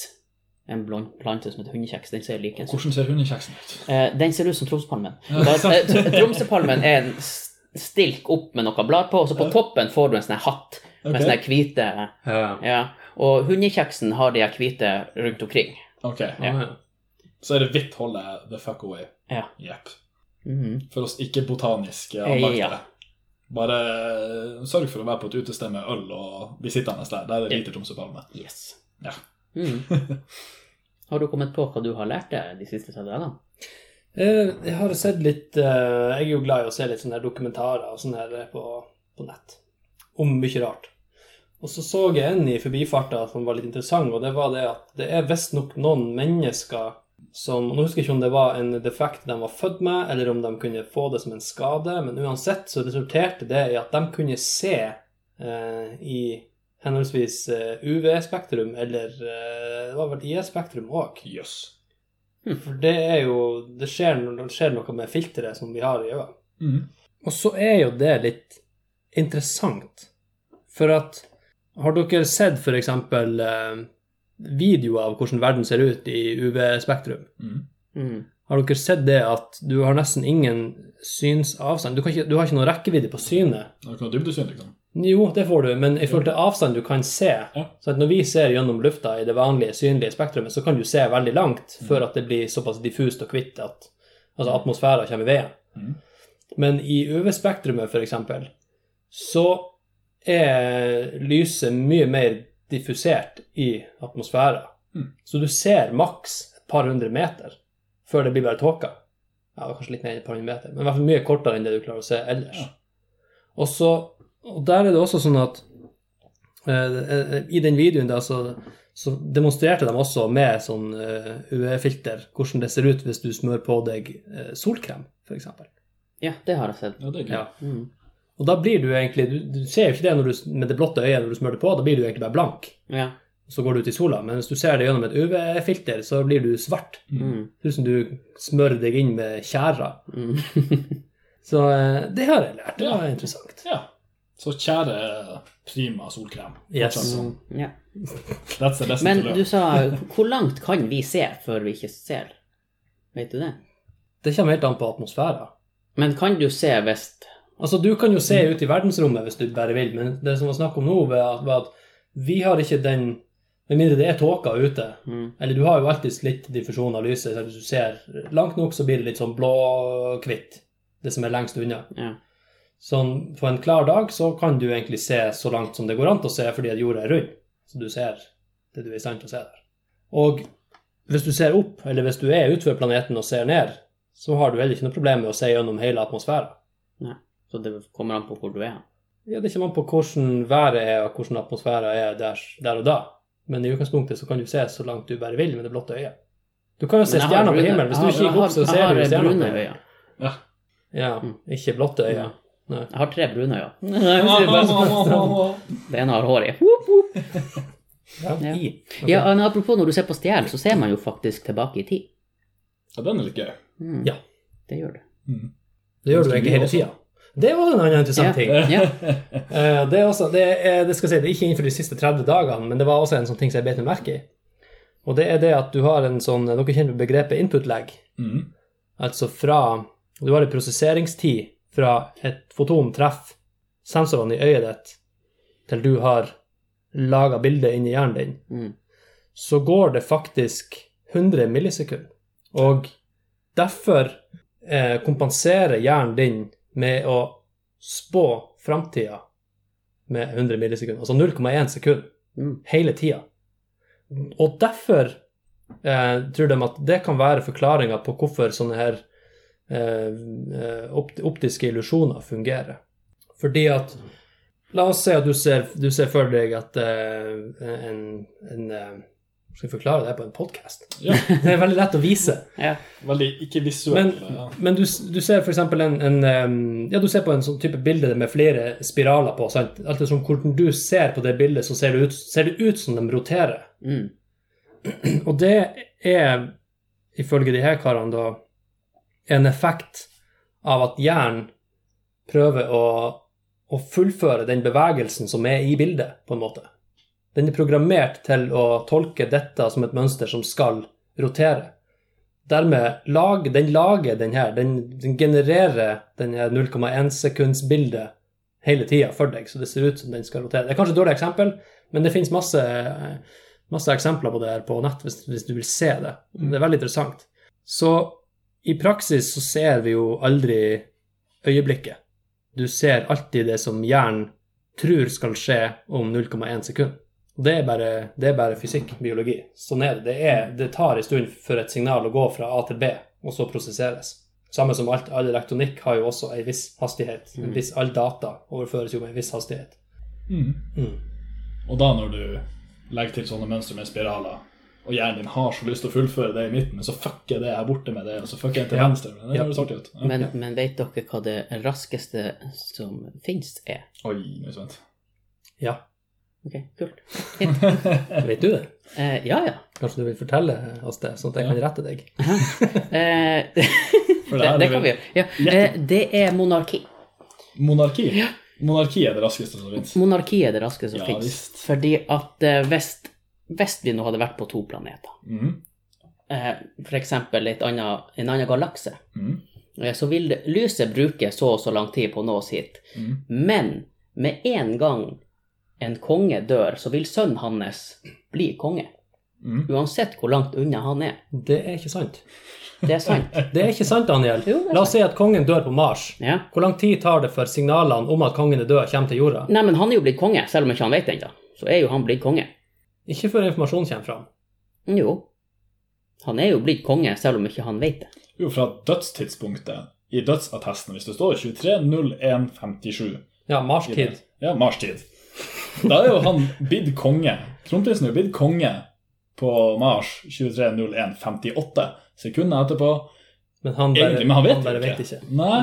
En blond plante som heter hundekjeks. Den ser likens ut.
Hvordan ser hundekjeksen ut?
Eh, den ser ut som Tromsøpalmen. Da- eh, tr- Tromsøpalmen er en s- stilk opp med noe blad på, og så på toppen får du en sånn her hatt med
Ok.
sånne her hvite
Ja.
Ja. Og hundekjeksen har de her hvite rundt omkring.
Ok,
Ja.
så er det hvitt holdet the fuck away.
Ja.
Jepp.
Mhm.
For oss ikke-botaniske
Eh,
anlagte.
ja.
Bare eh, sørg for å være på et utested med øl og bli sittende der. Der er det lite Tromsøpalme.
Yes.
Ja.
Mhm. Har du kommet på hva du har lært deg de siste 30 dagene?
Eh, Jeg har sett litt eh, Jeg er jo glad i å se litt sånne her dokumentarer og sånne her på, på nett om mye rart. Og så så jeg en i forbifarta som var litt interessant, og det var det at det er visstnok noen mennesker som Nå husker jeg ikke om det var en defekt de var født med, eller om de kunne få det som en skade, men uansett så resulterte det i at de kunne se eh, i henholdsvis eh, UV-spektrum, eller eh, det var vel IS-spektrum òg.
Jøss.
For det er jo Det skjer, det skjer noe med filteret som vi har i øynene.
Mhm.
Og så er jo det litt interessant. For at Har dere sett f.eks. Eh, videoer av hvordan verden ser ut i UV-spektrum.
Mm.
Mm.
Har dere sett det at du har nesten ingen synsavstand? Du, kan ikke, du har ikke noen rekkevidde på synet.
Det er ikke noe dybdesyn, liksom.
Jo, det får du, men i forhold til avstand du kan se så at Når vi ser gjennom lufta i det vanlige synlige spektrumet, så kan du se veldig langt før at det blir såpass diffust og hvitt at altså atmosfæra kommer i veien.
Mhm.
Men i UV-spektrumet, f.eks., så er lyset mye mer diffusert i atmosfæra.
Mhm.
Så du ser maks et par hundre meter før det blir bare tåke. Ja, det er kanskje litt mer enn et par hundre meter, men i hvert fall mye kortere enn det du klarer å se ellers.
Ja.
Og, så, og der er det også sånn at eh, eh, i den videoen da, så, så demonstrerte de også med sånn UE-filter hvordan det ser ut hvis du smører på deg eh, solkrem, f.eks.
Ja, det har jeg sett.
Ja, det er gøy.
Ja.
Mm.
Og da blir du egentlig Du, du ser jo ikke det når du, s- med det blotte øyet når du smører det på, da blir du egentlig bare blank.
Ja.
Så går du ut i sola, men hvis du ser det gjennom et UV-filter, så blir du svart.
Mm.
Det ser ut som du smører deg inn med tjæra.
Mm.
Så eh, det har jeg lært. Det var
Ja.
interessant.
Ja. Så kjære Prima solkrem.
Yes.
Fortsatt sånn.
ja.
That's the lesson
Men
to learn.
du sa Hvor langt kan vi se før vi ikke ser? Vet du det?
Det kommer helt an på atmosfæra.
Men kan du se hvis
Altså, du kan jo se ut i verdensrommet hvis du bare vil, men det som var snakk om nå, var at- var at vi har ikke den Med mindre det er tåka ute,
mm.
eller du har jo alltid litt diffusjon av lyset, så hvis du ser langt nok, så blir det litt sånn blå-hvitt, det som er lengst unna.
Ja.
Sånn på en klar dag så kan du egentlig se så langt som det går an til å se fordi at jorda er rund, så du ser det du er i stand til å se der. Og hvis du ser opp, eller hvis du er utenfor planeten og ser ned, så har du heller ikke noe problem med å se gjennom hele atmosfæren.
Så det kommer an på hvor du er.
Ja, Det kommer an på hvordan været er og hvordan atmosfæra er der, der og da. Men i utgangspunktet så kan du se så langt du bare vil med det blotte øyet. Du kan jo se
Men jeg har
stjerner på
brune-
himmelen. Hvis
jeg
du
har-
kikker opp, så
jeg
ser
har,
du
jeg har brune
stjerner.
øyne.
Ja.
Ja, ikke blotte øyne.
Jeg har tre brune øyne.
Ja,
Det ene har hår i.
Ja.
Ja.
I. Ok.
Ja, men apropos når du ser på stjerner, så ser man jo faktisk tilbake i tid.
den er litt gøy.
Mm.
Ja.
Det gjør det.
Mm.
Det gjør du egentlig hele tida. Det var en annen interessant ting.
Ja.
Eh, Det er også, det er, det skal jeg si, det er ikke innenfor de siste 30 dagene, men det var også en sånn ting som jeg bet meg merke i. Og det er det at du har en sånn Dere kjenner begrepet input lag?
Mm.
Altså fra Du har en prosesseringstid fra et foton treffer sensorene i øyet ditt, til du har laga bildet inni hjernen din,
Mm.
så går det faktisk 100 millisekunder. Og derfor eh, kompenserer hjernen din med å spå framtida med 100 millisekunder. Altså 0,1 sekund
Mm.
hele tida. Og derfor eh, tror de at det kan være forklaringa på hvorfor sånne her eh, eh, opt optiske illusjoner fungerer. Fordi at La oss si at du ser, du ser for deg at eh, en, en eh, Skal jeg forklare det på en podkast?
Ja.
Det er veldig lett å vise.
Ja.
Veldig eh.
Men,
ikke-visuelt. Ja.
men du, du ser f.eks. en, en eh, Ja, du ser på en sånn type bilde med flere spiraler på. sant? Alt etter hvordan du ser på det bildet, så ser det ut, ser det ut som de roterer.
Mm.
Og det er, ifølge de her karene, da en effekt av at hjernen prøver å, å fullføre den bevegelsen som er i bildet, på en måte. Den er programmert til å tolke dette som et mønster som skal rotere. Dermed lag, den lager den her, den, den genererer den her 0,1 sekundsbildet hele tida for deg, så det ser ut som den skal rotere. Det er kanskje et dårlig eksempel, men det finnes masse eh, masse eksempler på det her på nett hvis, hvis du vil se det. Det er veldig interessant. Så i praksis så ser vi jo aldri øyeblikket. Du ser alltid det som hjernen tror skal skje om 0,1 sekund. Og Det er, bare, det er bare fysikk, biologi. Sånn er det. Det, er, det tar en stund for et signal å gå fra A til B, og så prosesseres. Samme som alt, all elektronikk har jo også en viss hastighet. En viss, all data overføres jo med en viss hastighet.
Mm.
Mm.
Og da når du legger til sånne mønstre med spiraler, og hjernen din har så lyst til å fullføre det i midten, men så fucker det her borte med det, og så fucker jeg til
Ja.
venstre. Men det
Ja.
høres artig ut. Ja.
Men, men vet dere hva det raskeste som fins, er?
Oi, nå er jeg spent.
Ja,
Ok, kult.
vet du det?
Eh, ja, ja.
Kanskje du vil fortelle oss det, sånn at jeg kan rette deg?
Eh,
For
det,
det her
det
er
kan vi
vel
gjøre. Ja. Eh, det er monarki.
monarki. Monarki er det raskeste som fins.
Monarki er det raskeste som
Ja,
finnes.
visst.
Fordi at eh, hvis Hvis vi nå hadde vært på to planeter,
Mhm.
eh, f.eks. en annen galakse,
Mhm.
eh, så vil det, lyset bruke så og så lang tid på å nå oss hit.
Mhm.
Men med en gang en konge dør, så vil sønnen hans bli konge.
Mhm.
Uansett hvor langt unna han er.
Det er ikke sant.
Det er sant.
Det er ikke sant, Daniel.
Jo, det er
La oss si at kongen dør på Mars.
Ja.
Hvor lang tid tar det før signalene om at kongen er død, kommer til jorda?
Nei, men han er jo blitt konge, selv om ikke han vet det ennå. Så er jo han blitt konge.
Ikke før informasjonen kommer fram.
Jo. Han er jo blitt konge, selv om ikke han vet det.
Jo, fra dødstidspunktet i dødsattesten, hvis det står 23.01.57
Ja, Mars-tid.
Ja, Mars-tid. Da er jo han bidd konge. Kronprinsen er jo bidd konge på Mars 23.01,58 sekunder etterpå.
Men han bare,
Egentlig, men han vet,
bare
jo
vet ikke.
Nei,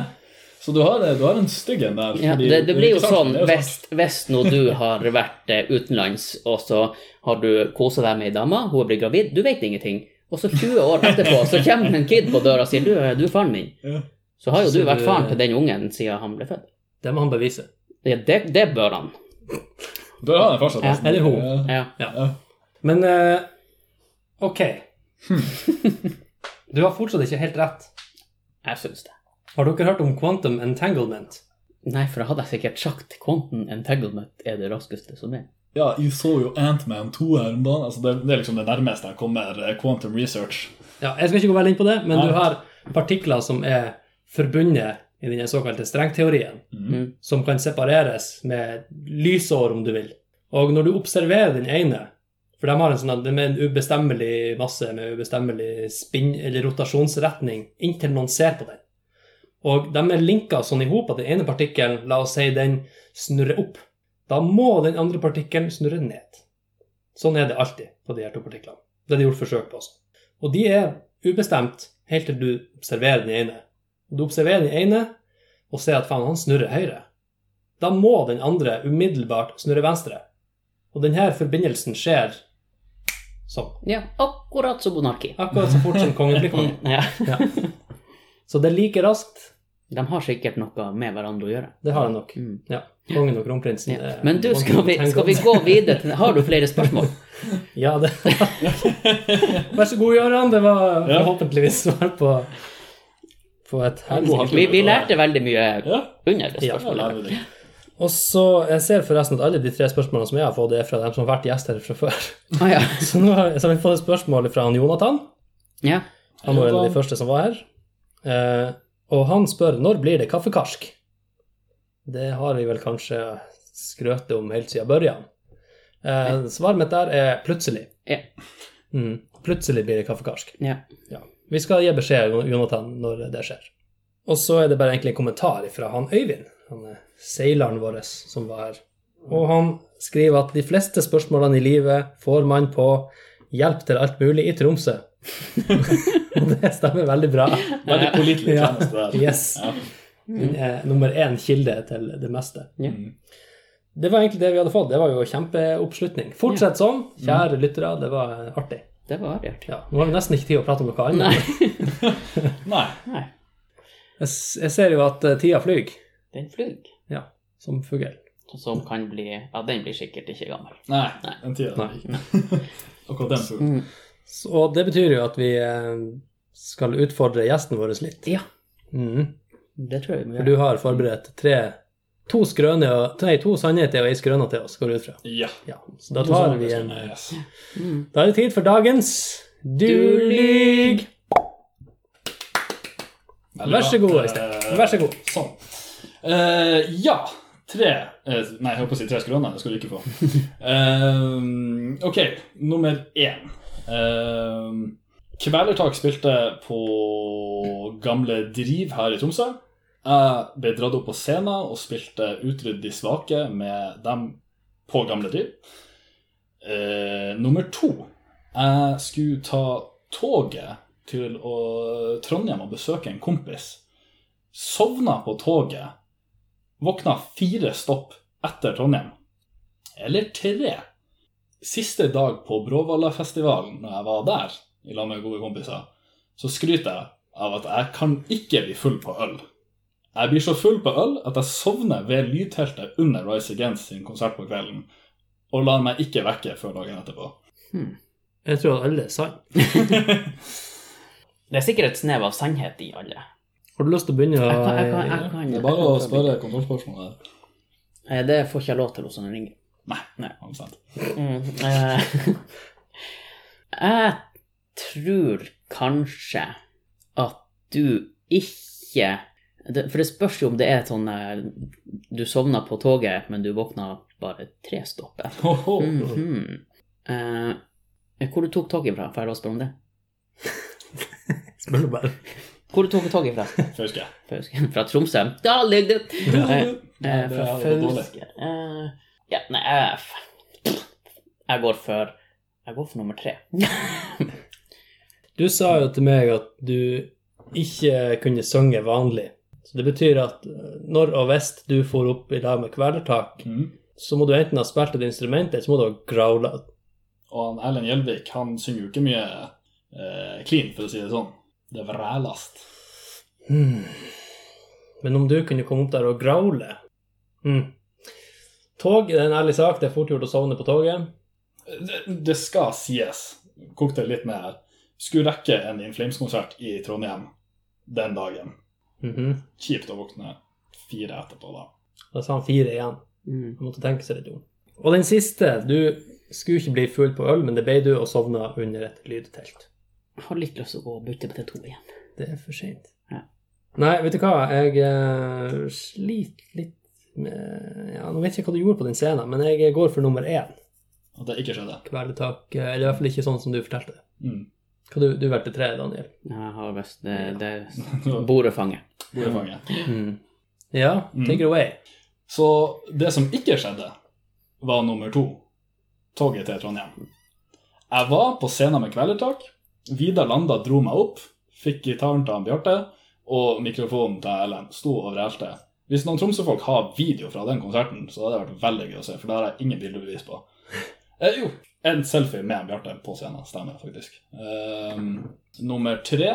Så du har, du har en stygg en der.
Ja,
fordi-
det, det blir jo
ikke sant,
sånn
det er jo
hvis, hvis nå du har vært eh, utenlands, og så har du kosa deg med ei dame, hun blir gravid, du vet ingenting. Og så 20 år etterpå så kommer det en kid på døra og sier du, eh, du er faren min.
Ja.
Så har jo
Så
du
du-
vært faren til den ungen siden han ble født.
Det må han bevise.
Ja, det, det bør han.
sånn- Da har han fortsatt
Ja,
nesten.
eller hun.
Ja.
Men eh, OK. Du har fortsatt ikke helt rett.
Jeg syns det.
Har dere hørt om quantum entanglement?
Nei, for da hadde jeg sikkert sagt Quantum entanglement er det raskeste som er.
Ja, jeg så jo Ant-Man 2 her om dagen. Altså, det, det er liksom det nærmeste jeg kommer eh, quantum research.
Ja, jeg skal ikke gå veldig inn på det, men
Nei.
du har partikler som er forbundet i den såkalte strengteorien,
Mhm.
som kan separeres med lysår, om du vil. Og når du observerer den ene For de har en sånn at de er en ubestemmelig masse med ubestemmelig spinn eller rotasjonsretning inntil noen ser på den. Og de er linka sånn i hop at den ene partikkelen, la oss si den snurrer opp. Da må den andre partikkelen snurre ned. Sånn er det alltid på de her to partiklene. Det er det gjort forsøk på også. Og de er ubestemt helt til du observerer den ene. Og du observerer den ene og ser at faen, han snurrer høyre. Da må den andre umiddelbart snurre venstre. Og denne forbindelsen skjer sånn.
Ja, akkurat som monarki.
Akkurat så fort som kongen blir konge.
Ja.
Ja. Så det er like raskt.
De har sikkert noe med hverandre å gjøre.
Det har jeg nok.
Mm.
Ja. Kongen og kronprinsen. eh,
Ja.
er-
Men du, skal vi, skal vi gå videre til Har du flere spørsmål?
Ja, det Vær så god, Gøran. Det var forhåpentligvis svar på, på et
God
helsike.
hatt.
Vi, vi lærte veldig mye
Ja,
under det
Ja.
da lærer
spørsmålet.
vi det.
Og så, Jeg ser forresten at alle de tre spørsmålene som jeg har fått, det er fra dem som har vært gjest her fra før.
Ah, ja.
Så nå har, så har vi fått et spørsmål fra han Jonathan.
Ja.
Han var en av de første som var her. Eh, og han spør når blir det kaffekarsk? Det har vi vel kanskje skrøtet om helt siden børjan. Eh, svaret mitt der er plutselig.
Ja.
Mm, plutselig blir det kaffekarsk.
Ja.
Vi skal gi beskjed, Jonathan, når det skjer. Og så er det bare egentlig en kommentar fra han Øyvind, han er seileren vår som var her. Og han skriver at de fleste spørsmålene i livet får man på hjelp til alt mulig i Tromsø. Og det stemmer veldig bra.
Veldig pålitelig
Ja.
tjeneste der.
Yes.
Ja.
Den er nummer én kilde til det meste.
Ja.
Det var egentlig det vi hadde fått. Det var jo kjempeoppslutning. Fortsett sånn, kjære lyttere. Det var artig.
Det var artig.
Ja, nå har vi nesten ikke tid å prate om noe annet.
Nei.
Nei,
Jeg, s- jeg ser jo at eh, tida flyr
den fløy.
som fugl.
Som kan bli Ja, den blir sikkert ikke gammel.
Nei.
Nei.
Den tida.
Nei.
Akkurat den fuglen.
Mm.
Så- Og det betyr jo at vi eh, skal utfordre gjesten vår litt.
Ja.
Mhm.
Det tror jeg vi må
For
gjøre.
du har forberedt tre To, skrøne, og- nei, to sannheter og ei skrøne til oss, går det ut fra.
Ja.
Ja. Så da tar vi en
Yes.
Mm.
Da er det tid for dagens Du lyg!
Veldig
Vær så
bra.
god, Øystein. Vær så god.
Sånn. Eh, ja. Tre eh, Nei, jeg holdt på å si tre skroner. Det skal du ikke få. Eh, ok, nummer én. Eh, Kvelertak spilte på Gamle Driv her i Tromsø. Jeg ble dratt opp på scenen og spilte Utrydd de svake med dem på Gamle Driv. Eh, nummer to. Jeg skulle ta toget til å, Trondheim og besøke en kompis. Sovna på toget. Våkna fire stopp etter Trondheim. Eller tre. Siste dag på Bråvallafestivalen, når jeg var der i lag med gode kompiser, så skryter jeg av at jeg kan ikke bli full på øl. Jeg blir så full på øl at jeg sovner ved lydteltet under Rise Against sin konsert på kvelden, og lar meg ikke vekke før dagen etterpå.
Hmm.
Jeg tror at alle er sann.
Det er sikkert et snev av sannhet i alle.
Har du lyst til å begynne å
Jeg kan, jeg kan, jeg kan,
Det
jeg
er bare å
kan-
spørre kontrollspørsmålet. her.
Eh, Det får ikke jeg lov til hos han ringer.
Har du sendt?
Mm, eh, jeg tror kanskje at du ikke det- For det spørs jo om det er sånn eh, Du sovna på toget, men du våkna bare tre stopp etter.
Hoho.
Mhm. Eh, hvor du tok toget fra? Får jeg lov å spørre om det?
Spør du bare.
Hvor du tok toget fra?
Fauske.
Fra Fauske? Fra Tromsø? Da ligger det Eh,
Nei,
Eh,
det
fra
hadde gått dårlig.
Fauske eh, Ja, nei, jeg f- Jeg går for Jeg går for nummer tre.
Du sa jo til meg at du ikke kunne synge vanlig. Så det betyr at eh, når og hvis du får opp i lag med kvelertak,
Mm.
så må du enten ha spilt et instrument, eller så må du ha growla.
Og han Erlend Gjelvik han synger jo ikke mye eh, clean, for å si det sånn. Det er vrælast.
Hmm. Men om du kunne komme opp der og growle hmm. Tog det er en ærlig sak, det er fort gjort å sovne på toget.
Det, det skal sies. Kok det litt ned her. Skulle rekke en In Flames-konsert i Trondheim den dagen.
Mhm.
Kjipt å våkne fire etterpå, da.
Da sa han fire igjen.
Mm.
Han måtte tenke seg litt om. Og den siste. Du skulle ikke bli full på øl, men det ble du, og sovna under et lydtelt.
Jeg har litt lyst til å gå og bytte på T2 igjen.
Det er for seint.
Ja.
Nei, vet du hva, jeg eh, sliter litt med ja, Nå vet jeg ikke hva du gjorde på den scenen, men jeg går for nummer én.
At det ikke skjedde.
Kvelertak. eh, Eller i hvert fall ikke sånn som du fortalte.
Mm.
Hva du, du valgte tre, Daniel.
Jeg har visst det, det
Så,
Bordet fanger.
Bordet fanget.
Ja,
Mm.
take it away.
Så det som ikke skjedde, var nummer to. Toget til Trondheim. Jeg var på scenen med Kvelertak. Vidar Landa dro meg opp, fikk gitaren til han Bjarte og mikrofonen til Erlend. Sto og vrælte. Hvis noen tromsøfolk har video fra den konserten, så hadde det vært veldig gøy å se, for det har jeg ingen bildebevis på. Eh, jo, en selfie med han Bjarte på scenen. Stemmer, faktisk. Ehm, nummer tre.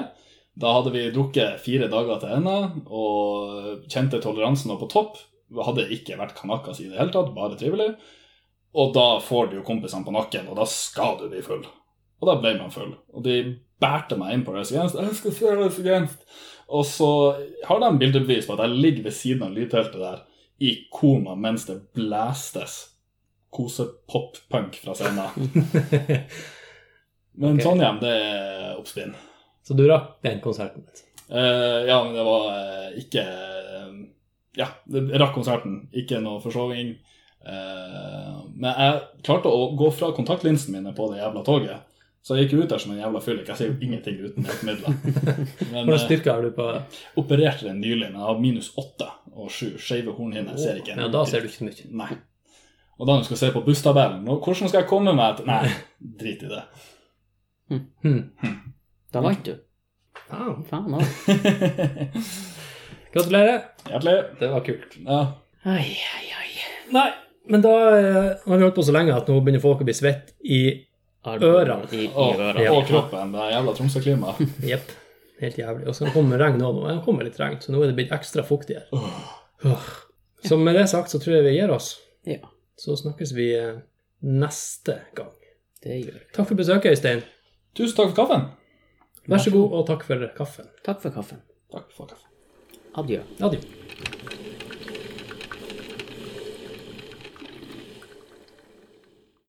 Da hadde vi drukket fire dager til ende og kjente toleransen var på topp. Det hadde ikke vært kanakas i det hele tatt, bare trivelig. Og da får du jo kompisene på nakken, og da skal du bli full. Og da ble man full. Og de bærte meg inn på Race Against. Jeg skal se Race Against. Og så har de bildebevis på at jeg ligger ved siden av lydteltet der i koma mens det blæstes kosepop-punk fra scenen. Men
Ok.
Trondheim, det er oppspinn.
Så du rakk den konserten. altså.
Eh, ja, men det var eh, ikke eh, Ja, det- jeg rakk konserten. Ikke noe forsoving. Eh, men jeg klarte å gå fra kontaktlinsene mine på det jævla toget. Så jeg gikk ut der som en jævla fyllik. Jeg sier jo ingenting uten hjelpemidler. Men
Hvordan
eh,
styrke har du på
opererte den nylig, men jeg har minus åtte og sju skeive hornhinner. Jeg Ser ikke.
Ja, da ser du ikke så mye.
Nei. Og da når du skal se på busstabellen nå, Hvordan skal jeg komme meg til Nei, drit i det.
Hmm.
Da vant du.
Ah,
Faen òg.
gratulerer.
Hjertelig.
Det var kult.
Ja.
Ai, ai, ai.
Nei, men da eh, har vi holdt på så lenge at nå begynner folk å bli svett i Ørene.
I, i
Og,
ørene.
Ja.
og kroppen. Det jævla Tromsø-klimaet.
Jepp. Helt jævlig. Og så kommer regn nå. nå. Det kommer litt regn, så nå er det blitt ekstra fuktig her.
Åh.
Åh. Så med det sagt så tror jeg vi gir oss.
Ja.
Så snakkes vi eh, neste gang.
Det gjør jeg.
Takk for besøket, Øystein.
Tusen takk for kaffen.
Vær så god, og takk for kaffen.
Takk for kaffen.
Takk for kaffen.
Adjø.
Adjø.